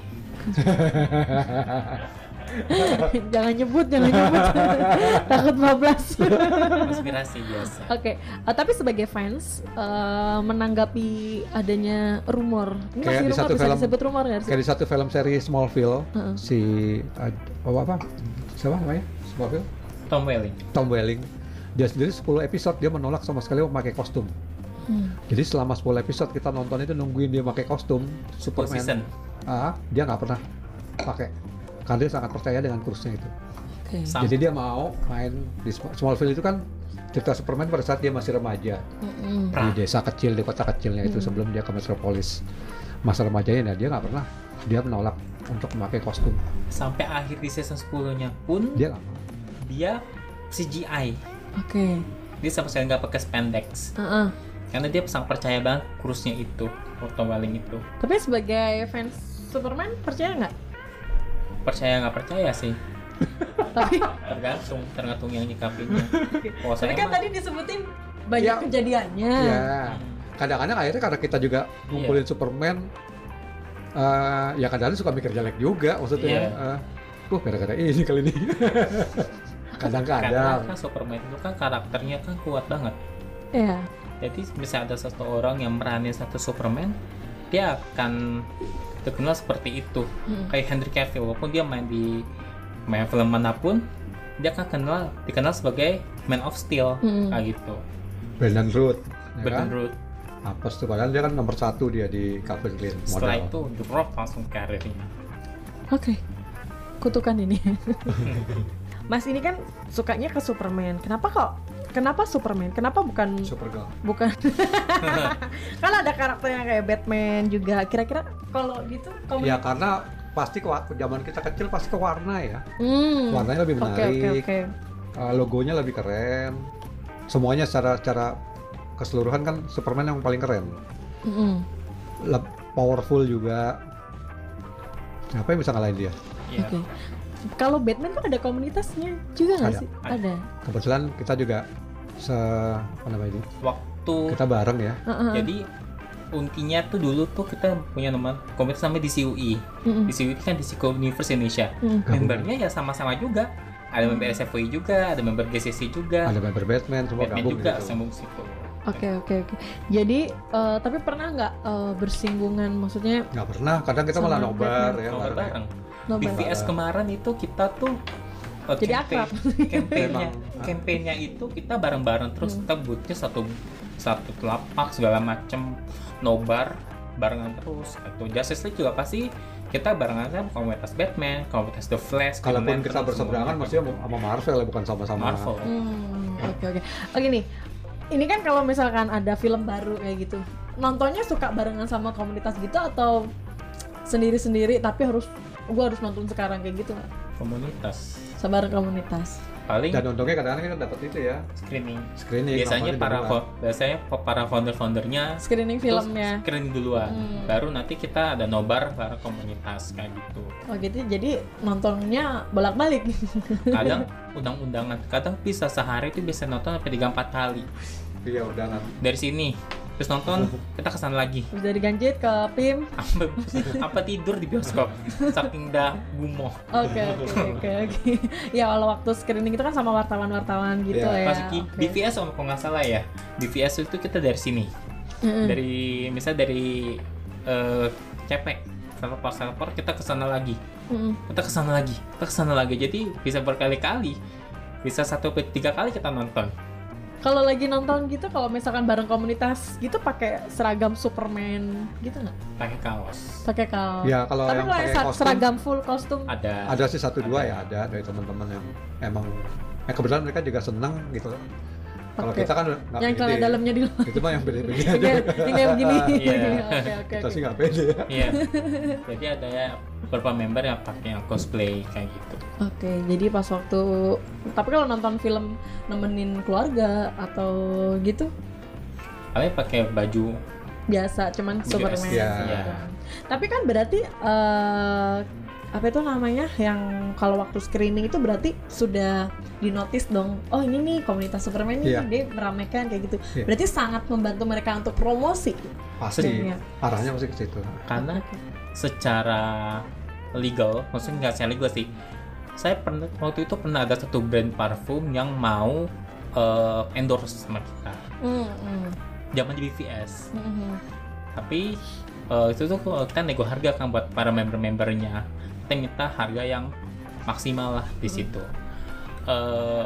Speaker 1: jangan nyebut, jangan nyebut. Takut bablas.
Speaker 3: konspirasi biasa
Speaker 1: Oke, eh, tapi sebagai fans eh, menanggapi adanya rumor, ini
Speaker 2: Kayak
Speaker 1: masih
Speaker 2: di
Speaker 1: rumor
Speaker 2: satu
Speaker 1: bisa
Speaker 2: film-
Speaker 1: disebut rumor nggak sih?
Speaker 2: Kayak di satu film seri Smallville,
Speaker 1: Heeh.
Speaker 2: si eh, apa apa? Siapa namanya? Smallville?
Speaker 3: Tom Welling
Speaker 2: Tom Welling. Dia sendiri 10 episode dia menolak sama sekali memakai kostum.
Speaker 1: Hmm.
Speaker 2: Jadi selama 10 episode kita nonton itu nungguin dia pakai kostum
Speaker 3: super
Speaker 2: Superman.
Speaker 3: season
Speaker 2: Ah, dia nggak pernah pakai. Karena dia sangat percaya dengan kursnya itu.
Speaker 1: Oke.
Speaker 3: Sama.
Speaker 2: Jadi dia mau main di Sm- Smallville itu kan cerita Superman pada saat dia masih remaja.
Speaker 1: Mm-mm.
Speaker 3: Pra.
Speaker 2: di desa kecil di kota kecilnya itu
Speaker 1: Hmm.
Speaker 2: sebelum dia ke metropolis masa remajanya nah, dia nggak pernah dia menolak untuk memakai kostum
Speaker 3: sampai akhir di season 10 nya pun
Speaker 2: dia nggak mau.
Speaker 3: dia CGI
Speaker 1: Oke.
Speaker 3: dia sama sekali nggak pakai spandex
Speaker 1: Heeh.
Speaker 3: karena dia sangat percaya banget kurusnya itu oh, Tom Welling itu
Speaker 1: Tapi sebagai fans Superman percaya nggak?
Speaker 3: percaya nggak percaya sih
Speaker 1: Tapi
Speaker 3: tergantung tergantung yang nyikapinnya kalau
Speaker 1: tapi
Speaker 3: saya
Speaker 1: kan
Speaker 3: mah,
Speaker 1: tadi disebutin banyak
Speaker 2: Ya.
Speaker 1: kejadiannya.
Speaker 2: ya kadang-kadang akhirnya karena kita juga ngumpulin
Speaker 3: Iya.
Speaker 2: Superman eh, ya kadang-kadang suka mikir jelek juga maksudnya
Speaker 3: Iya.
Speaker 2: Eh, Wah, gara-gara ini kali ini
Speaker 3: karena
Speaker 2: kadang-kadang
Speaker 3: kan Superman itu kan karakternya kan kuat banget
Speaker 1: Iya.
Speaker 3: jadi bisa ada satu orang yang meranin satu Superman dia akan terkenal seperti itu
Speaker 1: Mm.
Speaker 3: kayak Henry Cavill walaupun dia main di main film manapun dia akan kenal dikenal sebagai Man of Steel
Speaker 1: Mm.
Speaker 3: kayak gitu
Speaker 2: Brandon Root ya kan?
Speaker 3: Brandon Root
Speaker 2: Apa tuh padahal dia kan nomor satu dia di Calvin Klein
Speaker 3: setelah
Speaker 2: model.
Speaker 3: itu drop langsung karirnya
Speaker 1: Oke. Kutukan ini. Mas ini kan sukanya ke Superman. Kenapa kok? Kenapa Superman? Kenapa bukan
Speaker 2: Supergirl.
Speaker 1: bukan? kan ada karakter yang kayak Batman juga. Kira-kira kalau gitu kamu
Speaker 2: Ya karena pasti ke zaman kita kecil pasti ke warna ya.
Speaker 1: Hmm.
Speaker 2: Warnanya lebih
Speaker 1: Oke
Speaker 2: menarik.
Speaker 1: oke oke.
Speaker 2: Uh, logonya lebih keren semuanya secara secara keseluruhan kan Superman yang paling keren
Speaker 1: Mm-mm.
Speaker 2: Le- powerful juga siapa yang bisa ngalahin dia
Speaker 3: Iya.
Speaker 1: Oke. Kalau Batman kan ada komunitasnya juga nggak
Speaker 2: Ada.
Speaker 1: sih?
Speaker 3: Ada.
Speaker 1: Ada.
Speaker 2: kebetulan kita juga se apa namanya ini
Speaker 3: waktu
Speaker 2: kita bareng ya
Speaker 1: Heeh.
Speaker 3: jadi untinya tuh dulu tuh kita punya teman komunitas namanya DCUI
Speaker 1: Mm-mm.
Speaker 3: DCUI itu kan DC Universe Indonesia
Speaker 1: Mm.
Speaker 2: gabungan
Speaker 3: membernya ya sama-sama juga ada member SFUI juga ada member GCC juga
Speaker 2: ada member Batman semua
Speaker 3: Batman
Speaker 2: gabung
Speaker 3: juga
Speaker 2: gitu.
Speaker 3: sambung situ
Speaker 1: Oke oke oke. Jadi eh, tapi pernah nggak eh, bersinggungan? Maksudnya
Speaker 2: nggak pernah kadang kita
Speaker 1: Sama
Speaker 2: malah nobar
Speaker 1: Batman.
Speaker 2: ya
Speaker 3: Nobar
Speaker 2: bareng.
Speaker 3: bareng
Speaker 1: nobar?
Speaker 3: di VS kemarin itu kita tuh uh,
Speaker 1: Jadi
Speaker 3: campaign-
Speaker 1: akrab.
Speaker 3: campaignnya
Speaker 2: Memang.
Speaker 3: campaignnya itu kita bareng-bareng terus
Speaker 1: Hmm.
Speaker 3: kita butuhnya satu satu telapak segala macem nobar barengan terus atau Justice League juga pasti kita barengan sama komunitas Batman komunitas The Flash
Speaker 2: kalaupun
Speaker 3: Green
Speaker 2: kita
Speaker 3: Lantern,
Speaker 2: berseberangan
Speaker 3: semuanya.
Speaker 2: maksudnya sama Marvel ya, bukan sama-sama
Speaker 3: Marvel
Speaker 1: Hmm, oke oke. Oke nih. Ini kan kalau misalkan ada film baru kayak gitu, nontonnya suka barengan sama komunitas gitu atau sendiri-sendiri tapi harus gua harus nonton sekarang kayak gitu nggak?
Speaker 3: komunitas
Speaker 1: Sebareng komunitas.
Speaker 3: paling
Speaker 2: dan untungnya kadang-kadang kita dapat itu ya
Speaker 3: screening
Speaker 2: screening
Speaker 3: biasanya
Speaker 2: namanya
Speaker 3: para
Speaker 2: berdua.
Speaker 3: fo- biasanya para founder-foundernya
Speaker 1: Screening
Speaker 3: terus
Speaker 1: filmnya.
Speaker 3: screening duluan
Speaker 1: Hmm.
Speaker 3: baru nanti kita ada nobar para komunitas kayak gitu
Speaker 1: Oh gitu. Jadi nontonnya bolak-balik.
Speaker 3: kadang undang-undangan kadang bisa sehari itu bisa nonton sampai tiga empat kali
Speaker 2: Iya udahan.
Speaker 1: Oh.
Speaker 3: dari sini terus nonton kita kesana lagi
Speaker 1: Terus dari Ganjit ke Pim.
Speaker 3: apa, apa tidur di bioskop saking dah gumoh
Speaker 1: Oke, oke, oke, oke. Ya kalau waktu screening itu kan sama wartawan-wartawan gitu
Speaker 2: Iya,
Speaker 1: ya.
Speaker 3: Pas Ki,
Speaker 1: oke.
Speaker 3: di VS om kalau nggak salah ya di VS itu kita dari sini
Speaker 1: Mm-mm.
Speaker 3: dari misal dari eh cepek sama pas teleport kita kesana lagi
Speaker 1: Mm-mm.
Speaker 3: kita kesana lagi kita kesana lagi jadi bisa berkali-kali bisa satu ke tiga kali kita nonton
Speaker 1: Kalau lagi nonton gitu, kalau misalkan bareng komunitas gitu pakai seragam Superman gitu nggak?
Speaker 3: pakai kaos
Speaker 1: Pakai kaos.
Speaker 2: Ya kalau
Speaker 1: Tapi
Speaker 2: yang
Speaker 1: kalau yang
Speaker 2: pakai
Speaker 1: sa-
Speaker 2: kostum
Speaker 1: seragam full kostum,
Speaker 3: ada
Speaker 2: ada sih satu dua ya ada dari teman-teman yang emang eh, kebetulan mereka juga senang gitu. Kalau
Speaker 1: Oke.
Speaker 2: kita kan nggak
Speaker 1: yang celana
Speaker 2: pede.
Speaker 1: dalamnya di luar,
Speaker 2: Itu mah yang beda-beda
Speaker 1: yang
Speaker 2: aja.
Speaker 1: kayak- yang kayak begini.
Speaker 3: Iya.
Speaker 1: Oke, oke,
Speaker 2: Kita
Speaker 1: oke.
Speaker 2: sih nggak pede. ya.
Speaker 3: Iya. Jadi ada ya beberapa member yang pakai yang cosplay kayak gitu.
Speaker 1: Oke, jadi pas waktu tapi kalau nonton film nemenin keluarga atau gitu
Speaker 3: Kalian pakai baju
Speaker 1: biasa, cuman
Speaker 3: Biasa,
Speaker 1: Superman.
Speaker 2: iya.
Speaker 1: gitu. Tapi kan berarti eh, apa itu namanya yang kalau waktu screening itu berarti sudah dinotis dong. Oh ini nih komunitas Superman nih
Speaker 2: Iya.
Speaker 1: dia meramaikan kayak gitu.
Speaker 2: Iya.
Speaker 1: Berarti sangat membantu mereka untuk promosi.
Speaker 2: Pasti
Speaker 1: Iya. Hmm.
Speaker 2: arahnya pasti ke situ.
Speaker 3: karena secara legal, maksudnya nggak secara legal sih. Saya pernah waktu itu pernah ada satu brand parfum yang mau eh, endorse sama kita.
Speaker 1: Mm, mm,
Speaker 3: Zaman di BVS.
Speaker 1: mm, mm.
Speaker 3: Tapi eh, itu tuh kita nego harga kan buat para member-membernya. Kita minta harga yang maksimal lah di situ. Eh,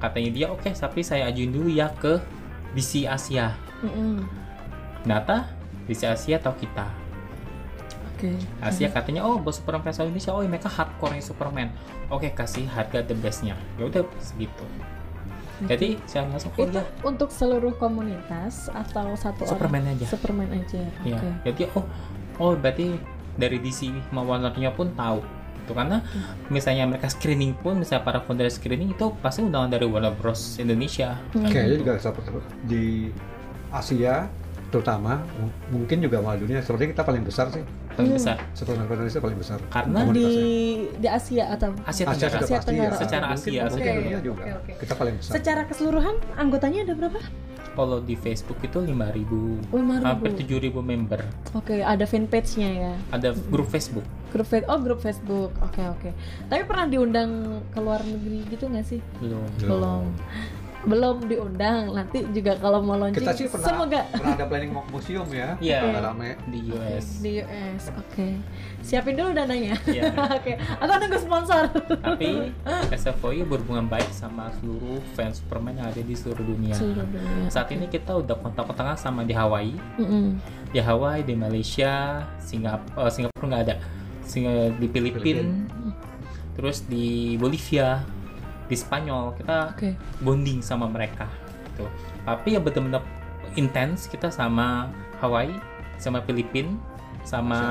Speaker 3: katanya dia oke, tapi saya ajuin dulu ya ke DC Asia.
Speaker 1: Mm, mm.
Speaker 3: Ternyata di Asia tahu kita.
Speaker 1: Oke.
Speaker 3: Asia katanya oh buat Superman versi Indonesia oh mereka hardcore Superman. Oke kasih harga the bestnya. Ya udah segitu. Jadi saya langsung oh,
Speaker 1: Itu
Speaker 3: iya,
Speaker 1: untuk seluruh komunitas atau satu orang?
Speaker 3: Superman aja.
Speaker 1: Superman aja. Oke.
Speaker 3: Iya. Jadi oh oh berarti dari DC mau warnanya pun tahu. Itu karena
Speaker 1: Hmm.
Speaker 3: misalnya mereka screening pun misalnya para founder screening itu pasti undangan dari Warner Bros Indonesia.
Speaker 1: Hmm.
Speaker 2: Kayaknya juga seperti di Asia terutama m- mungkin juga malah dunia sepertinya kita paling besar sih
Speaker 3: Paling
Speaker 1: Hmm.
Speaker 3: besar
Speaker 2: setelah Indonesia paling besar
Speaker 3: karena
Speaker 1: Di
Speaker 2: Komunitasnya.
Speaker 1: di Asia atau
Speaker 3: Asia
Speaker 2: Asia
Speaker 3: Tenggara.
Speaker 2: juga
Speaker 1: Asia
Speaker 2: pasti
Speaker 1: Tenggara.
Speaker 2: ya.
Speaker 3: Secara Asia,
Speaker 2: Mungkin- mungkin
Speaker 1: Asia.
Speaker 2: dunia
Speaker 1: Oke,
Speaker 2: juga
Speaker 1: oke, oke.
Speaker 2: kita paling besar
Speaker 1: secara keseluruhan anggotanya ada berapa?
Speaker 3: Kalau di Facebook itu 5.000
Speaker 1: Lima
Speaker 3: hampir
Speaker 1: ribu.
Speaker 3: 7.000 member.
Speaker 1: Oke, ada fanpage-nya ya.
Speaker 3: Ada grup Facebook.
Speaker 1: Grup Fa- oh grup Facebook. Oke oke. Tapi pernah diundang ke luar negeri gitu nggak sih?
Speaker 3: Belum.
Speaker 1: Belum. Belum diundang. Nanti juga kalau mau launching
Speaker 2: kita sih pernah
Speaker 1: semoga
Speaker 2: pernah ada planning mau ke museum ya
Speaker 3: Iya.
Speaker 2: Agak rame
Speaker 3: di US.
Speaker 1: di US. Oke. Siapin dulu dananya.
Speaker 3: Iya.
Speaker 1: oke. Aku nunggu sponsor.
Speaker 3: Nah. Tapi SFOI berhubungan baik sama seluruh fans Superman yang ada di seluruh dunia.
Speaker 1: Seluruh dunia.
Speaker 3: Saat ini kita udah kontak-kontakan sama di Hawaii,
Speaker 1: Mm-mm.
Speaker 3: di Ya, Hawaii, di Malaysia, Singapura, oh, Singapura nggak ada, Singa- di Filipina, terus di Bolivia, di Spanyol kita
Speaker 1: Oke.
Speaker 3: bonding sama mereka. Gitu. Tapi yang benar-benar intens kita sama Hawaii, sama Filipina, sama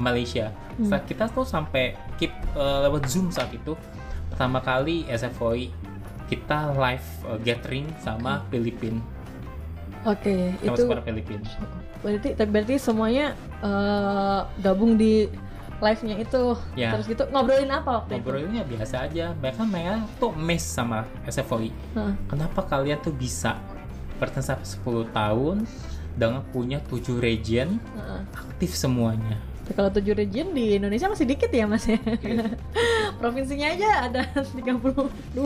Speaker 3: Malaysia.
Speaker 1: Hmm.
Speaker 3: Saat kita tuh sampai keep uh, lewat Zoom saat itu pertama kali SFOI kita live uh, gathering sama Filipin
Speaker 1: Oke. Hmm.
Speaker 3: sama
Speaker 1: Itu
Speaker 3: Super Filipin.
Speaker 1: berarti berarti semuanya eh, gabung di live-nya itu.
Speaker 3: Ya,
Speaker 1: Terus gitu ngobrolin apa waktu itu?
Speaker 3: ngobrolnya biasa aja. Bahkan mereka tuh miss sama SFOI.
Speaker 1: Heeh.
Speaker 3: Kenapa kalian tuh bisa bertahan sampai 10 tahun dengan punya 7 region
Speaker 1: Heeh.
Speaker 3: aktif semuanya?
Speaker 1: Tapi Kalau tujuh region di Indonesia masih dikit ya mas ya.
Speaker 2: Iya.
Speaker 1: Provinsinya aja ada 32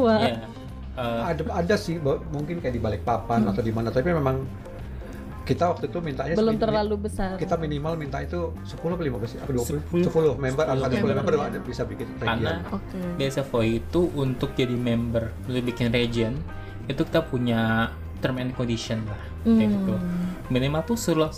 Speaker 3: Ya. eh,
Speaker 2: ada ada sih bo- mungkin kayak di Balikpapan
Speaker 1: Hmm.
Speaker 2: atau di mana tapi memang kita waktu itu mintanya
Speaker 1: Belum
Speaker 3: Iya.
Speaker 2: semi-
Speaker 1: terlalu besar.
Speaker 2: kita minimal minta itu 10 atau 15 apa 20 10
Speaker 3: 10.
Speaker 2: member angka 10
Speaker 1: Member,
Speaker 2: member
Speaker 1: ya.
Speaker 2: ada- bisa bikin
Speaker 3: karena
Speaker 2: region.
Speaker 1: Oke.
Speaker 3: di SFOI itu untuk jadi member untuk bikin region itu kita punya term and condition lah kayak gitu
Speaker 1: Hmm.
Speaker 3: minimal tuh seluruh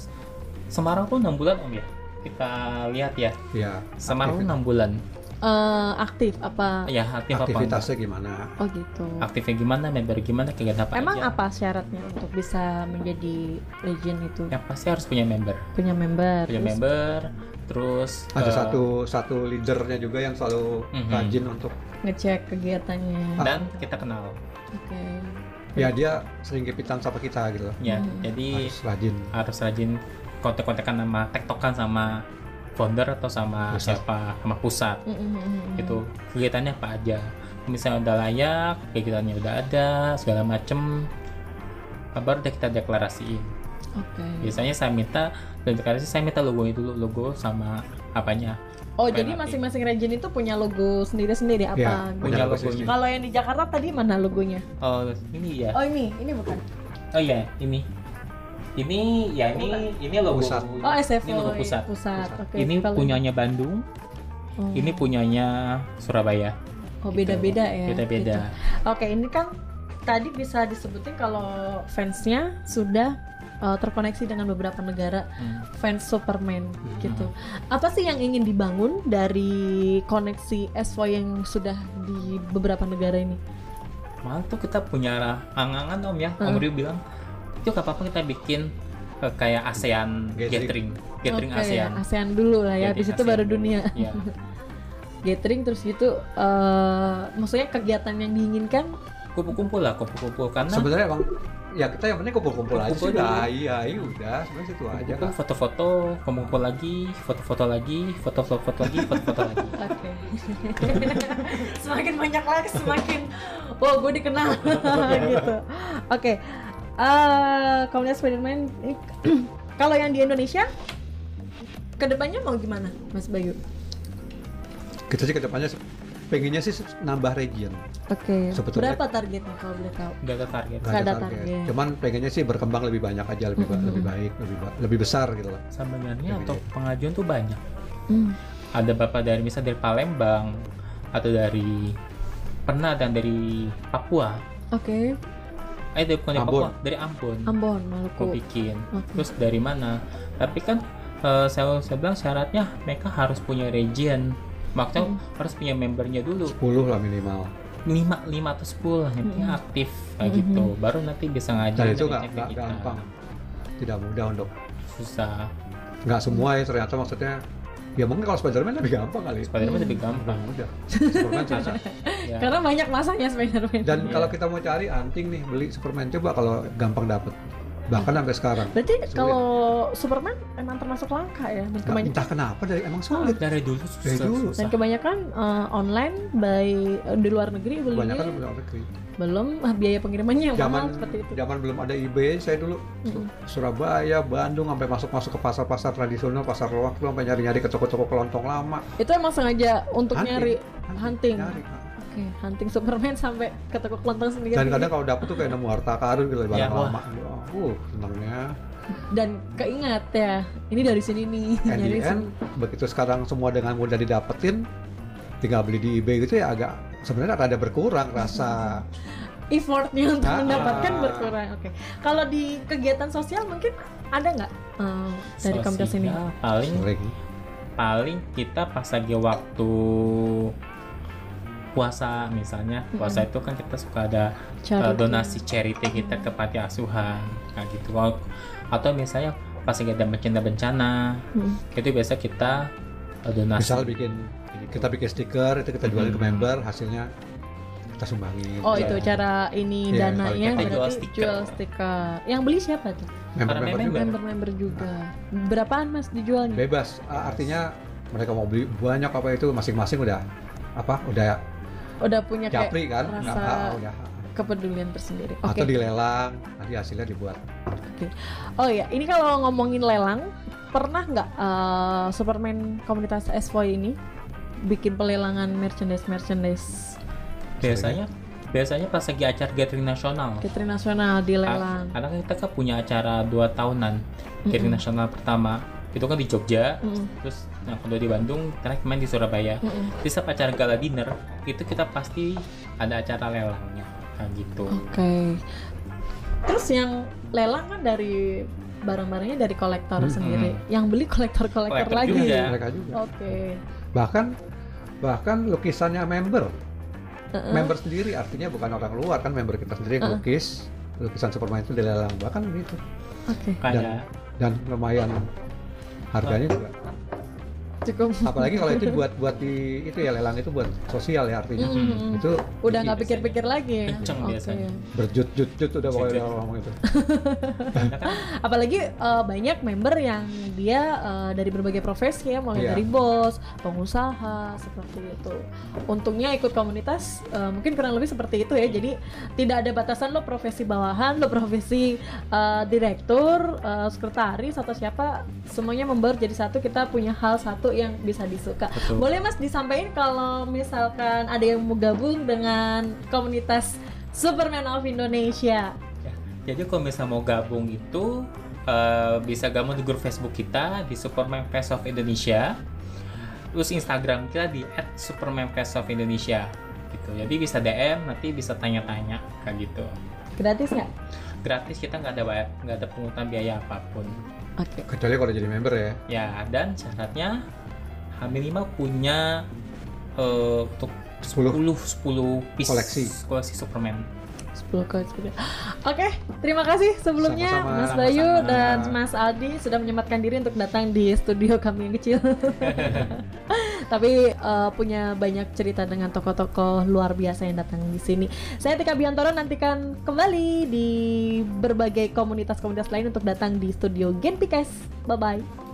Speaker 3: Semarang tuh enam bulan om ya kita lihat ya
Speaker 2: ya
Speaker 3: Semarang
Speaker 2: Aktivi-
Speaker 3: enam bulan
Speaker 1: Eh, aktif apa?
Speaker 3: ya
Speaker 2: Iya,
Speaker 3: aktif apa enggak.
Speaker 2: aktivitasnya gimana
Speaker 1: Oh gitu.
Speaker 3: aktifnya gimana member gimana kegiatan apa
Speaker 1: Emang
Speaker 3: aja.
Speaker 1: apa syaratnya untuk bisa menjadi region itu?
Speaker 3: yang pasti harus punya member
Speaker 1: Punya member.
Speaker 3: Ya. punya
Speaker 1: terus-
Speaker 3: member terus
Speaker 2: ada
Speaker 3: eh,
Speaker 2: satu satu leadernya juga yang selalu
Speaker 3: Mhm.
Speaker 2: rajin untuk
Speaker 1: ngecek kegiatannya.
Speaker 3: eh, dan kita kenal
Speaker 1: Oke.
Speaker 2: ya dia sering kepitan sama kita gitu loh
Speaker 3: ya
Speaker 1: Hmm.
Speaker 3: jadi
Speaker 2: harus rajin
Speaker 3: harus rajin kontak-kontakan sama tektokan sama founder atau sama
Speaker 2: Pusat.
Speaker 3: siapa sama pusat
Speaker 1: Hmm, Mm-mm-mm-mm.
Speaker 3: gitu kegiatannya apa aja misalnya udah layak kegiatannya udah ada segala macem nah, baru deh kita deklarasiin
Speaker 1: Oke.
Speaker 3: biasanya saya minta dan deklarasi saya minta logonya dulu logo sama apanya
Speaker 1: Oh,
Speaker 3: Main
Speaker 1: jadi
Speaker 3: api.
Speaker 1: masing-masing region itu punya logo sendiri-sendiri apa?
Speaker 2: Iya,
Speaker 3: punya
Speaker 2: logo
Speaker 3: logonya.
Speaker 2: sendiri.
Speaker 4: Kalau yang di Jakarta tadi mana?
Speaker 1: Mana logonya?
Speaker 3: oh ini ya
Speaker 4: Oh ini, ini bukan.
Speaker 3: oh ya ini ini ya ini ini logo
Speaker 2: Pusat.
Speaker 1: Oh, SF.
Speaker 3: ini logo pusat
Speaker 1: Pusat. Oke.
Speaker 3: ini
Speaker 1: kita logo-
Speaker 3: punyanya Bandung
Speaker 1: Oh.
Speaker 3: ini punyanya Surabaya
Speaker 1: Oh, beda-beda ya.
Speaker 3: beda-beda
Speaker 1: gitu.
Speaker 4: Oke, ini kan tadi bisa disebutin kalau fansnya
Speaker 1: Sudah uh, terkoneksi dengan beberapa negara
Speaker 3: Hmm.
Speaker 1: fans Superman gitu. Apa sih yang ingin dibangun dari koneksi SFO yang sudah di beberapa negara ini?
Speaker 3: malah tuh kita punya angangan om ya om
Speaker 1: Hmm.
Speaker 3: Rio bilang itu gak apa-apa kita bikin eh, kayak ASEAN gathering
Speaker 2: Gathering.
Speaker 3: gathering
Speaker 1: Oke,
Speaker 3: ASEAN
Speaker 1: ASEAN dulu lah ya,
Speaker 3: Gathering
Speaker 1: habis itu
Speaker 3: ASEAN
Speaker 1: baru
Speaker 3: dulu.
Speaker 1: dunia.
Speaker 3: Iya.
Speaker 1: Gathering terus gitu eh maksudnya kegiatan yang diinginkan
Speaker 3: kumpul-kumpul lah kumpul-kumpul karena
Speaker 2: sebenarnya emang ya kita yang penting kumpul-kumpul aja
Speaker 3: Kumpul
Speaker 2: sudah
Speaker 3: dulu.
Speaker 2: iya iya udah sebenarnya situ aja
Speaker 3: kumpul
Speaker 2: kak
Speaker 3: foto-foto kumpul lagi foto-foto lagi foto-foto lagi foto-foto lagi
Speaker 1: Oke.
Speaker 4: semakin banyak lagi semakin
Speaker 1: Wow, gue oh, dikenal gitu. Oke. Eh, komunitas Spiderman ini
Speaker 4: kalau yang di Indonesia kedepannya mau gimana?
Speaker 1: Mas Bayu.
Speaker 2: kita sih kedepannya se- pengennya sih se- nambah region
Speaker 1: Oke.
Speaker 2: Sebetulnya-
Speaker 1: Berapa targetnya kalau boleh tahu?
Speaker 3: gak ada target
Speaker 2: nggak
Speaker 1: ada target.
Speaker 2: cuman pengennya sih berkembang lebih banyak aja lebih ba-
Speaker 1: Mhm.
Speaker 2: lebih baik lebih ba- lebih besar gitu lah
Speaker 3: sebenarnya
Speaker 2: Lebih
Speaker 3: untuk pengajuan tuh banyak
Speaker 1: Hmm.
Speaker 3: ada bapak dari misalnya dari Palembang atau dari pernah dan dari Papua
Speaker 1: Oke.
Speaker 3: eh dari bukan dari
Speaker 2: Ambon.
Speaker 3: Papua dari Ambon
Speaker 1: Ambon,
Speaker 3: aku
Speaker 1: Maluku.
Speaker 3: bikin
Speaker 1: Oke.
Speaker 3: terus dari mana tapi kan eh, saya, saya bilang syaratnya mereka harus punya region maksudnya
Speaker 1: Hmm.
Speaker 3: harus punya membernya dulu
Speaker 2: 10 lah minimal
Speaker 3: 5, 5 atau 10 yang penting
Speaker 1: Mm-mm.
Speaker 3: aktif kayak
Speaker 1: Mm-mm.
Speaker 3: gitu baru nanti bisa
Speaker 2: dan
Speaker 3: ngajar
Speaker 2: Nah, itu
Speaker 3: dan
Speaker 2: nggak
Speaker 3: ngecek
Speaker 2: nggak
Speaker 3: kita.
Speaker 2: gampang tidak mudah untuk
Speaker 3: susah
Speaker 2: nggak semua ya ternyata maksudnya ya mungkin kalau Spiderman lebih gampang kali
Speaker 3: Spiderman lebih gampang
Speaker 2: Nah, udah Superman susah.
Speaker 3: ya.
Speaker 1: Karena banyak masanya Spiderman.
Speaker 2: dan
Speaker 3: Iya.
Speaker 2: kalau kita mau cari anting nih beli Superman coba kalau gampang dapet bahkan sampai sekarang
Speaker 1: Berarti
Speaker 2: Sulit.
Speaker 1: kalau Superman emang termasuk langka ya dan
Speaker 2: Nggak-
Speaker 1: kebanyakan
Speaker 2: entah kenapa dari emang sulit
Speaker 3: dari dulu susah,
Speaker 2: Dari dulu.
Speaker 1: dan
Speaker 3: susah.
Speaker 1: kebanyakan eh, online by eh, di luar negeri belinya
Speaker 2: kebanyakan luar negeri
Speaker 1: belum ah, biaya pengirimannya yang
Speaker 2: zaman
Speaker 1: mahal seperti itu.
Speaker 2: zaman belum ada eBay saya dulu Su- Surabaya Bandung sampai masuk masuk ke pasar pasar tradisional pasar loak tuh sampai nyari nyari ke toko toko kelontong lama
Speaker 1: Itu emang sengaja untuk
Speaker 2: Hunting.
Speaker 1: nyari hunting.
Speaker 2: nyari
Speaker 1: Oke, hunting Superman sampai ke toko kelontong sendiri.
Speaker 2: dan kadang kalau dapet tuh kayak nemu harta karun gitu barang
Speaker 3: Ya, wah.
Speaker 2: lama uh senangnya
Speaker 1: dan keingat ya, ini dari sini nih.
Speaker 2: and the
Speaker 1: nyari
Speaker 2: end begitu sekarang semua dengan mudah didapetin tinggal beli di eBay gitu ya agak sebenarnya rada berkurang rasa
Speaker 1: effortnya untuk
Speaker 2: Ah.
Speaker 1: mendapatkan berkurang. Oke. Kalau di kegiatan sosial mungkin ada nggak eh, dari komunitas ini?
Speaker 3: Sosial paling
Speaker 2: sering
Speaker 3: paling kita pas lagi waktu puasa misalnya puasa itu kan kita suka ada
Speaker 1: Charity.
Speaker 3: eh, donasi charity kita ke panti asuhan nah gitu Kalau- atau misalnya pas lagi ada bencana bencana
Speaker 1: Hmm.
Speaker 3: itu biasa kita eh, donasi
Speaker 2: misal bikin
Speaker 3: Gitu.
Speaker 2: kita bikin stiker itu kita jualin ke
Speaker 3: Mhm.
Speaker 2: member hasilnya kita sumbangin
Speaker 1: Oh
Speaker 2: Iya.
Speaker 1: itu cara ini
Speaker 2: Iya,
Speaker 1: dananya
Speaker 2: kalau
Speaker 3: kita jual
Speaker 1: berarti
Speaker 3: stiker.
Speaker 1: jual stiker. Yang beli siapa tuh?
Speaker 2: member-member
Speaker 3: Karena
Speaker 2: Oh, juga
Speaker 1: Member-member juga. Berapaan mas dijualnya?
Speaker 2: bebas A- artinya mereka mau beli banyak apa itu masing-masing udah apa udah
Speaker 1: Udah punya kayak
Speaker 2: japri kan
Speaker 1: rasa-
Speaker 2: nggak ah, udah
Speaker 1: kepedulian tersendiri. Oke.
Speaker 2: atau dilelang nanti hasilnya dibuat
Speaker 1: Oh ya, ini kalau ngomongin lelang, pernah nggak eh, Superman komunitas S4 ini bikin pelelangan merchandise merchandise
Speaker 3: biasanya biasanya pas lagi acara gathering nasional
Speaker 1: catering nasional
Speaker 3: Ka-
Speaker 1: dilelang?
Speaker 3: karena kan kita kan punya acara dua tahunan gathering nasional pertama itu kan di Jogja
Speaker 1: Mm-mm.
Speaker 3: terus yang kedua di Bandung terakhir kemarin di Surabaya
Speaker 1: Mm-mm.
Speaker 3: di setiap acara gala dinner itu kita pasti ada acara lelangnya nah, gitu
Speaker 1: Oke. Terus yang lelang kan dari barang-barangnya dari kolektor
Speaker 2: Hmm.
Speaker 1: sendiri. Yang beli kolektor-kolektor
Speaker 3: Kolektor
Speaker 1: lagi.
Speaker 3: juga.
Speaker 1: Oke.
Speaker 2: Iya, mereka juga bahkan bahkan lukisannya member
Speaker 1: Heeh.
Speaker 2: member sendiri artinya bukan orang luar kan member kita sendiri yang lukis lukisan Superman itu dilelang bahkan gitu
Speaker 1: Oke.
Speaker 3: kayak
Speaker 2: dan lumayan harganya juga
Speaker 1: cukup
Speaker 2: apalagi kalau itu buat buat di itu ya lelang itu buat sosial ya artinya
Speaker 1: Mm-mm.
Speaker 2: itu
Speaker 1: udah
Speaker 3: Iya,
Speaker 1: nggak pikir-pikir lagi ya?
Speaker 3: gitu. Kenceng
Speaker 1: Oke.
Speaker 3: biasanya.
Speaker 2: berjut-jut-jut udah pokoknya
Speaker 3: Berjut-jut.
Speaker 2: udah ngomong itu
Speaker 3: Iya kan?
Speaker 1: apalagi eh, banyak member yang dia eh, dari berbagai profesi ya mulai
Speaker 2: Iya.
Speaker 1: dari bos pengusaha seperti itu untungnya ikut komunitas eh, mungkin kurang lebih seperti itu ya jadi tidak ada batasan lo profesi bawahan lo profesi eh, direktur eh, sekretaris atau siapa semuanya member jadi satu kita punya hal satu yang bisa disuka
Speaker 3: Betul.
Speaker 1: boleh mas disampaikan kalau misalkan ada yang mau gabung dengan komunitas Superman of Indonesia
Speaker 3: Ya, Jadi kalau misalnya mau gabung itu eh, bisa gabung di grup Facebook kita di Superman Face of Indonesia. Terus Instagram kita di @supermanfaceofindonesia gitu. Jadi bisa DM nanti bisa tanya-tanya kayak gitu.
Speaker 1: gratis nggak?
Speaker 3: Gratis kita nggak ada bayar, nggak ada pungutan biaya apapun.
Speaker 1: Oke.
Speaker 2: kecuali kalau jadi member ya
Speaker 3: Ya dan syaratnya minimal punya eh, untuk
Speaker 2: 10.
Speaker 3: 10 piece
Speaker 2: Koleksi.
Speaker 3: koleksi Superman.
Speaker 1: 10 kali 10. Oke, terima kasih sebelumnya
Speaker 2: Sama-sama,
Speaker 1: Mas Bayu
Speaker 3: sama-sama.
Speaker 1: dan Mas Aldi sudah menyematkan diri untuk datang di studio kami yang kecil. Tapi eh, punya banyak cerita dengan tokoh-tokoh luar biasa yang datang di sini. Saya Tika Biantoro nantikan kembali di berbagai komunitas-komunitas lain untuk datang di studio Genpikes. Bye bye.